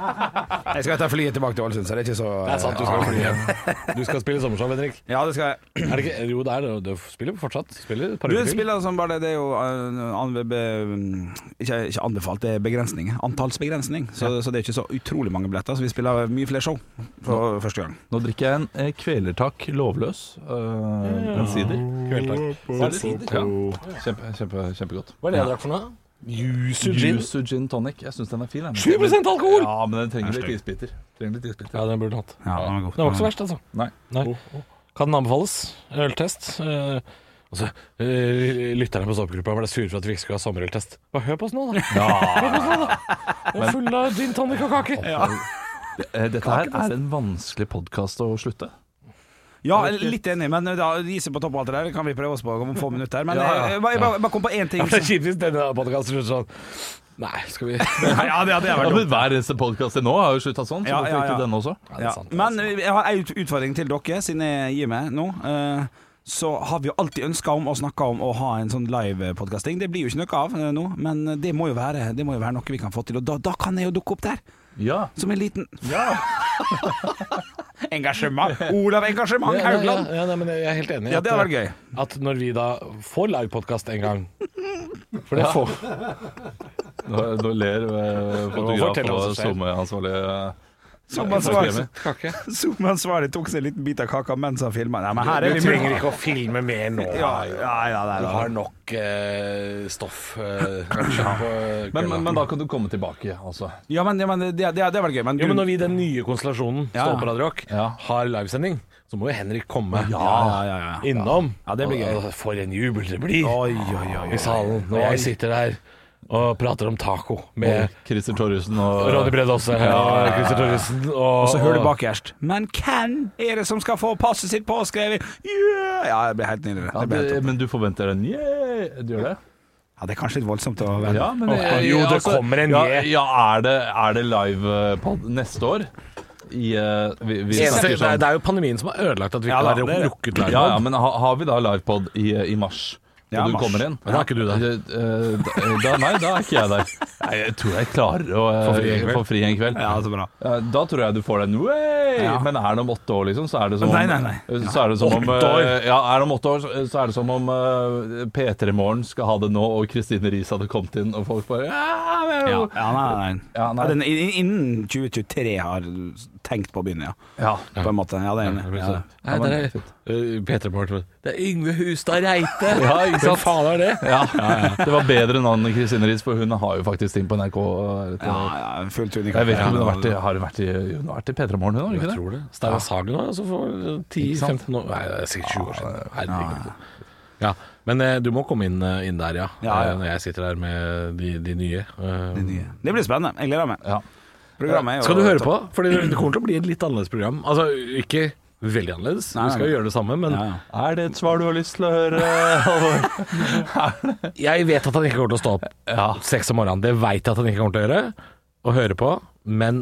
S3: Jeg skal ta flyet tilbake til Ålesund, så det er ikke så
S5: Det er sant, du skal fly hjem. Du skal spille sommershow, Henrik.
S3: Ja, det skal jeg.
S5: Er det ikke, jo, det er det. Du spiller fortsatt. Spiller et par
S3: Du
S5: uker til.
S3: spiller som bare det, det er jo eh, an, be, mm, ikke, ikke anbefalt, det er begrensning. Antallsbegrensning. Så, så det er ikke så utrolig mange billetter. Så vi spiller mye flere show for første gang.
S4: Nå drikker jeg en eh, kvelertak lovløs. Øh, en sider.
S5: Kvelertak.
S4: Ja, det er sider. Ja. Kjempe, kjempe, kjempegodt.
S5: Hva er det jeg drakk for noe? Yuzu
S4: gin.
S5: gin.
S4: Yuzu gin tonic. Jeg syns den er fin. jeg.
S5: 7% alkohol!
S4: Ja, men den trenger
S5: Den er
S4: litt
S5: stygg.
S4: isbiter. Trenger litt isbiter.
S5: Ja, den burde du hatt.
S3: Ja, den var god.
S5: Det var ikke så verst, altså.
S4: Nei.
S5: Kan den anbefales? Øltest. Eh, altså, eh, lytterne på Såpegruppa ble sure for at vi ikke skulle ha sommerøltest. Bare hør på oss nå, da. Hør på oss nå, da. Vi er
S4: Men-
S5: fulle av gin tonic og kake.
S4: Det- eh, Dette her er en vanskelig podkast å slutte.
S3: Ja, jeg er litt enig, men eh, da isen på topp og alt det der kan vi prøve oss på om få minutter. Men
S5: Ja, ja.
S3: eh, jeg, bare- jeg, bare- jeg bare kom på én ting.
S5: Ja, det er kjipt hvis denne podkasten slutter sånn Nei, skal vi
S3: Ja, det hadde jeg vært
S4: Ja, men Hver eneste podkast til nå har jo slutta sånn. Så
S3: Ja,
S4: hvorfor
S3: ja, ja.
S4: ikke denne også?
S3: Ja. Men jeg har en ut- utfordring til dere, siden jeg gir meg nå. Eh, Så har vi jo alltid ønska om og snakka om å ha en sånn live-podkasting. Det blir jo ikke noe av eh, nå, men det må jo være, det må jo være noe vi kan få til. Og da, da kan jeg jo dukke opp der,
S4: Ja.
S3: som en liten Engasjement! Olav Engasjement
S5: Ja, nei,
S3: Haugland!
S5: Ja, ja, nei, men jeg er helt enig. i
S3: Ja, det hadde
S5: at-
S3: vært
S5: At når vi da får livepodkast en gang For det
S4: Ja.
S5: får
S4: Nå, nå ler eh, fotograf
S5: Fortell hva
S4: og
S5: som skjer.
S4: SoMe-ansvarlig eh,
S3: Zoomansvarlig
S5: Kake.
S3: Zoomansvarlig tok seg en liten bit av kaka mens han filma. Nei, men her
S5: Du
S3: er vi
S5: trenger ikke å filme mer nå.
S3: Ja, ja, ja, det er
S5: du
S3: det.
S5: har nok eh, stoff eh, kanskje på
S4: men, men, men da kan du komme tilbake, altså.
S3: Ja, men, ja, men det, det, det hadde vært gøy. Men,
S5: Jo, men
S3: grunn-
S5: når vi i den nye konstellasjonen
S3: Ja, ja.
S5: Stå på Radio Rock har livesending, så må jo Henrik komme
S3: Ja, ja, ja, ja.
S5: innom.
S3: Ja, det blir gøy.
S5: Og- og For en jubel det blir
S3: Oi, oi, oi, oi.
S5: i salen når jeg sitter der og prater om taco med
S4: Eh, Christer Torjussen og
S5: Ronny Brede Aase og Christer Torjussen. Og,
S3: Og så hører du bakerst Men hvem er det som skal få passet sitt påskrevet? Yeah! Ja, jeg blir helt nydelig.
S4: Ja,
S3: Det blir helt
S4: det,
S3: topp.
S4: men du forventer en yeah? Du gjør det?
S3: ja, det er kanskje litt voldsomt å være
S4: Ja, men,
S3: Åh,
S4: eh,
S5: jo, det
S4: altså,
S5: kommer en
S4: ja,
S5: yeah.
S4: Ja, er det, er det live eh, pod neste år? I, eh, vi, vi
S5: Eneste-
S4: snakker
S5: det, er,
S4: sånn
S5: det er jo pandemien som har ødelagt at vi
S4: Ja,
S5: ikke
S4: da,
S5: har
S4: det er det.
S5: lukket live.
S4: Ja, ja, men ha, har vi da livepod i, eh, i mars? Og
S5: Ja,
S4: du
S5: mars.
S4: kommer inn?
S5: Men da er ikke du der.
S4: Eh, Da, da, nei, da er ikke jeg der. Nei, jeg tror jeg klarer å eh,
S5: Få fri en kveld.
S4: få fri en kveld.
S3: Ja, så bra.
S4: Eh, Da tror jeg du får den. Way!
S3: Ja.
S4: Men er den om åtte år, liksom, så er det som om
S3: Nei, nei, nei.
S4: Så er det som om,
S5: Åtte år!
S4: eh, ja, er det om åtte år, så- så er det som om eh, P3 Morgen skal ha det nå, og Kristine Riis hadde kommet inn, og folk bare ja, men-
S3: Ja, ja, nei, nei. nei.
S4: Ja, nei.
S3: Ja, den, i- innen 2023 har tenkt på å begynne, ja.
S4: Ja.
S3: På en måte. Ja, det er enig.
S5: Det blir
S3: Ja,
S5: sånn. Nei, det er uh, Peter Morten. Det er Yngve Hustad Reite!
S4: Ja, ikke sant?
S5: Hvem faen er det?
S4: Ja, ja, ja. Det var bedre navn enn Kristine Riis, for hun har jo faktisk ting på NRK. eh, til-
S3: ja, ja, fullt unikat.
S4: Jeg vet ikke om hun
S3: Ja,
S4: har vært i, har hun vært i, hun har vært i P3 Morgen, hun har hun ikke
S5: Jeg
S4: det?
S5: tror det. Steinar Sagen var altså for
S4: Ikke sant?
S5: 10-15 år Nei, det er sikkert 20 år siden. Herregud. Ja, men eh, du må komme inn, eh, inn der, ja.
S3: Ja, ja.
S5: Eh, Når jeg sitter der med de, de nye. eh,
S3: det er nye. Det blir spennende. Jeg gleder meg.
S4: Ja.
S3: Programmet er jo
S5: Skal du høre
S3: topp.
S5: på? For det det kommer til å bli et litt annerledes program. Altså, ikke veldig annerledes.
S3: Nei,
S5: Vi skal
S3: nei.
S5: jo gjøre det samme, men
S3: Ja, ja.
S4: Er det et svar du har lyst til å høre, Halvor?
S5: jeg vet at han ikke kommer til å stå opp seks om morgenen. Det veit jeg at han ikke kommer til å gjøre, og høre på. Men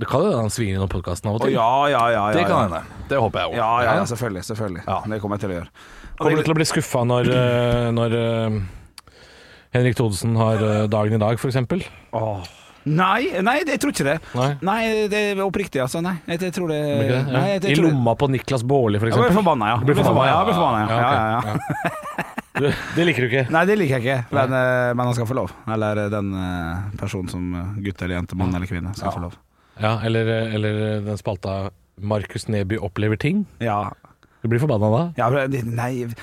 S5: det kan jo hende han svinger innom podkasten av og
S3: Å,
S5: til.
S3: ja, ja, ja, ja,
S4: Det kan
S3: ja.
S4: hende. Det håper jeg òg.
S3: Ja, ja, ja, selvfølgelig. selvfølgelig. Det kommer jeg til å gjøre.
S5: Kommer du til å bli skuffa når, eh, når eh, Henrik Thodesen har eh, dagen i dag, f.eks.?
S3: Åh. Nei, nei, jeg tror ikke det. Nei,
S5: Nei.
S3: det er oppriktig, altså. Nei, jeg, jeg tror det,
S5: Blir ikke det?
S3: nei,
S5: Ja.
S3: jeg,
S5: I
S3: jeg tror det.
S5: lomma på Niklas Baarli, f.eks.
S3: Jeg blir forbanna, ja. Jeg blir forbanna, ja. Jeg blir forbanna, ja. Ja, ja, ja.
S5: det liker du ikke?
S3: Nei, det liker jeg ikke, men, eh, men han skal få lov. Eller eh, den eh, personen som eh, gutt eller jente, mann eller kvinne, skal få lov.
S5: Ja, eller, eh, eller den spalta Markus Neby opplever ting.
S3: Ja.
S5: Du blir forbanna da?
S3: Ja, men det- nei jeg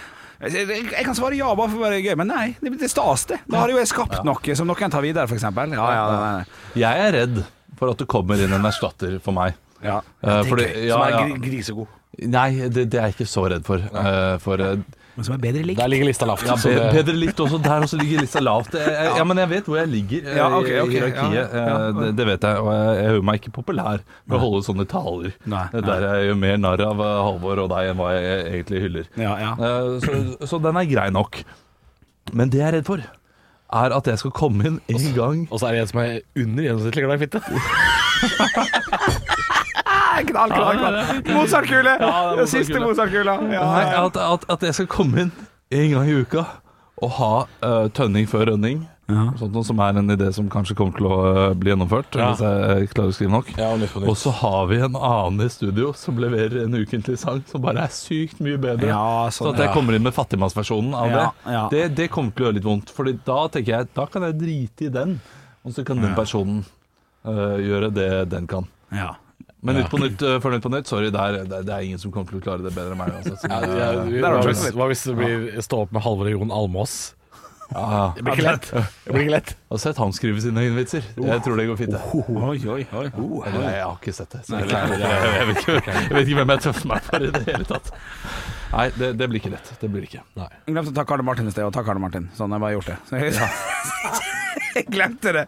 S3: jeg kan svare ja bare for å være gøy, men nei. Det det er stas, det. Da har jo jeg skapt noe som noen tar videre, f.eks. Ja, ja, nei, nei.
S4: Jeg er redd for at det kommer inn en erstatter for meg.
S3: Ja,
S4: Eh,
S3: det er
S4: fordi-
S3: gøy, som
S4: ja,
S3: er
S4: ja.
S3: gri- grisegod.
S4: Nei, det, det er jeg ikke så redd for. eh, for eh,
S3: Men som er bedre likt.
S5: Der ligger lista lavt.
S4: Ja,
S5: så
S4: be-
S5: det-
S4: bedre likt også. Der også ligger lista lavt. Jeg, jeg, ja, men jeg vet hvor jeg ligger eh,
S5: Ja, ok, ok,
S4: i hierarkiet.
S5: ja, ja.
S4: Eh, Det, det vet jeg. Og jeg, jeg gjør meg ikke populær med å holde sånne taler.
S3: nei.
S4: Der jeg gjør mer narr av eh, Halvor og deg enn hva jeg egentlig hyller. Eh, Så, så den er grei nok. Men det jeg er redd for, er at jeg skal komme inn en gang
S5: Og så er det en som er under gjennomsnittlig glad i fitte.
S3: Knall, knall, knall. Mozartkule!
S4: Ja, det er
S3: Siste
S4: Mozartkula.
S3: Mozartkula. Ja, ja,
S4: Nei,
S3: ja.
S4: at, at, at jeg skal komme inn en gang i uka og ha eh, tønning før rønning. Sånt noe som er en idé som kanskje kommer til å eh, bli gjennomført,
S5: Ja.
S4: hvis jeg eh, klarer å skrive nok.
S5: Ja, og nytt på nytt.
S4: og så har vi en annen i studio som leverer en ukentlig sang som bare er sykt mye bedre.
S3: Ja,
S4: så
S3: sånn,
S4: at jeg
S3: ja.
S4: kommer inn med fattigmannsversjonen av
S3: Ja,
S4: det.
S3: ja.
S4: det. Det kommer til å gjøre litt vondt, Fordi da tenker jeg da kan jeg drite i den, og så kan den personen eh, gjøre det den kan.
S3: Ja.
S4: Men
S3: Ja.
S4: Nytt på nytt eh, før Nytt på nytt, sorry, der, der, det er ingen som kommer til å klare det bedre enn meg. Altså. Så,
S5: Ja,
S4: eh,
S5: ja,
S4: der
S5: hva,
S4: har du
S5: hvis,
S4: det.
S5: hva hvis det blir stå opp med Halvor og Jon Almås?
S4: Ja.
S5: Det blir ikke lett. Det blir ikke lett.
S4: Jeg har sett han skrive sine egne vitser. Jeg tror det går fint. det.
S3: Oi, oi, oi.
S4: Eller jeg har ikke sett det. Så
S3: Nei,
S4: jeg, vet ikke,
S3: nei,
S4: jeg, vet ikke, jeg vet ikke hvem jeg tøffer meg for i det hele tatt. Nei, det, det blir ikke lett. Det blir det ikke.
S3: Jeg glemte å takke Arne Martin i sted, og takk Arne Martin. Sånn, jeg bare gjort det. Så jeg, jeg glemte det.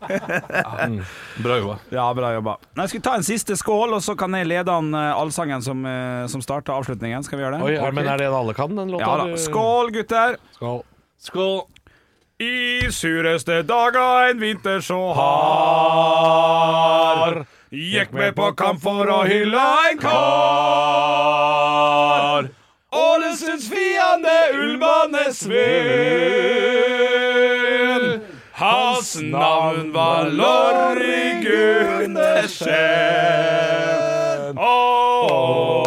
S4: Bra jobba.
S3: Ja, bra jobba. Nå skal vi ta en siste skål, og så kan jeg lede an eh, allsangen som, eh, som starta avslutningen. Skal vi gjøre det?
S5: Oi, er- men
S3: Ok.
S5: er det en alle kan, den låta?
S3: Ja da.
S5: eller?
S3: Skål, gutter!
S5: Skål.
S3: I sureste daga en vinter så hard Gikk med på kamp for å hylle en kar. Ålesunds fiende Ulvane Sveen. Hans navn var Lorry Gundersen. Åh,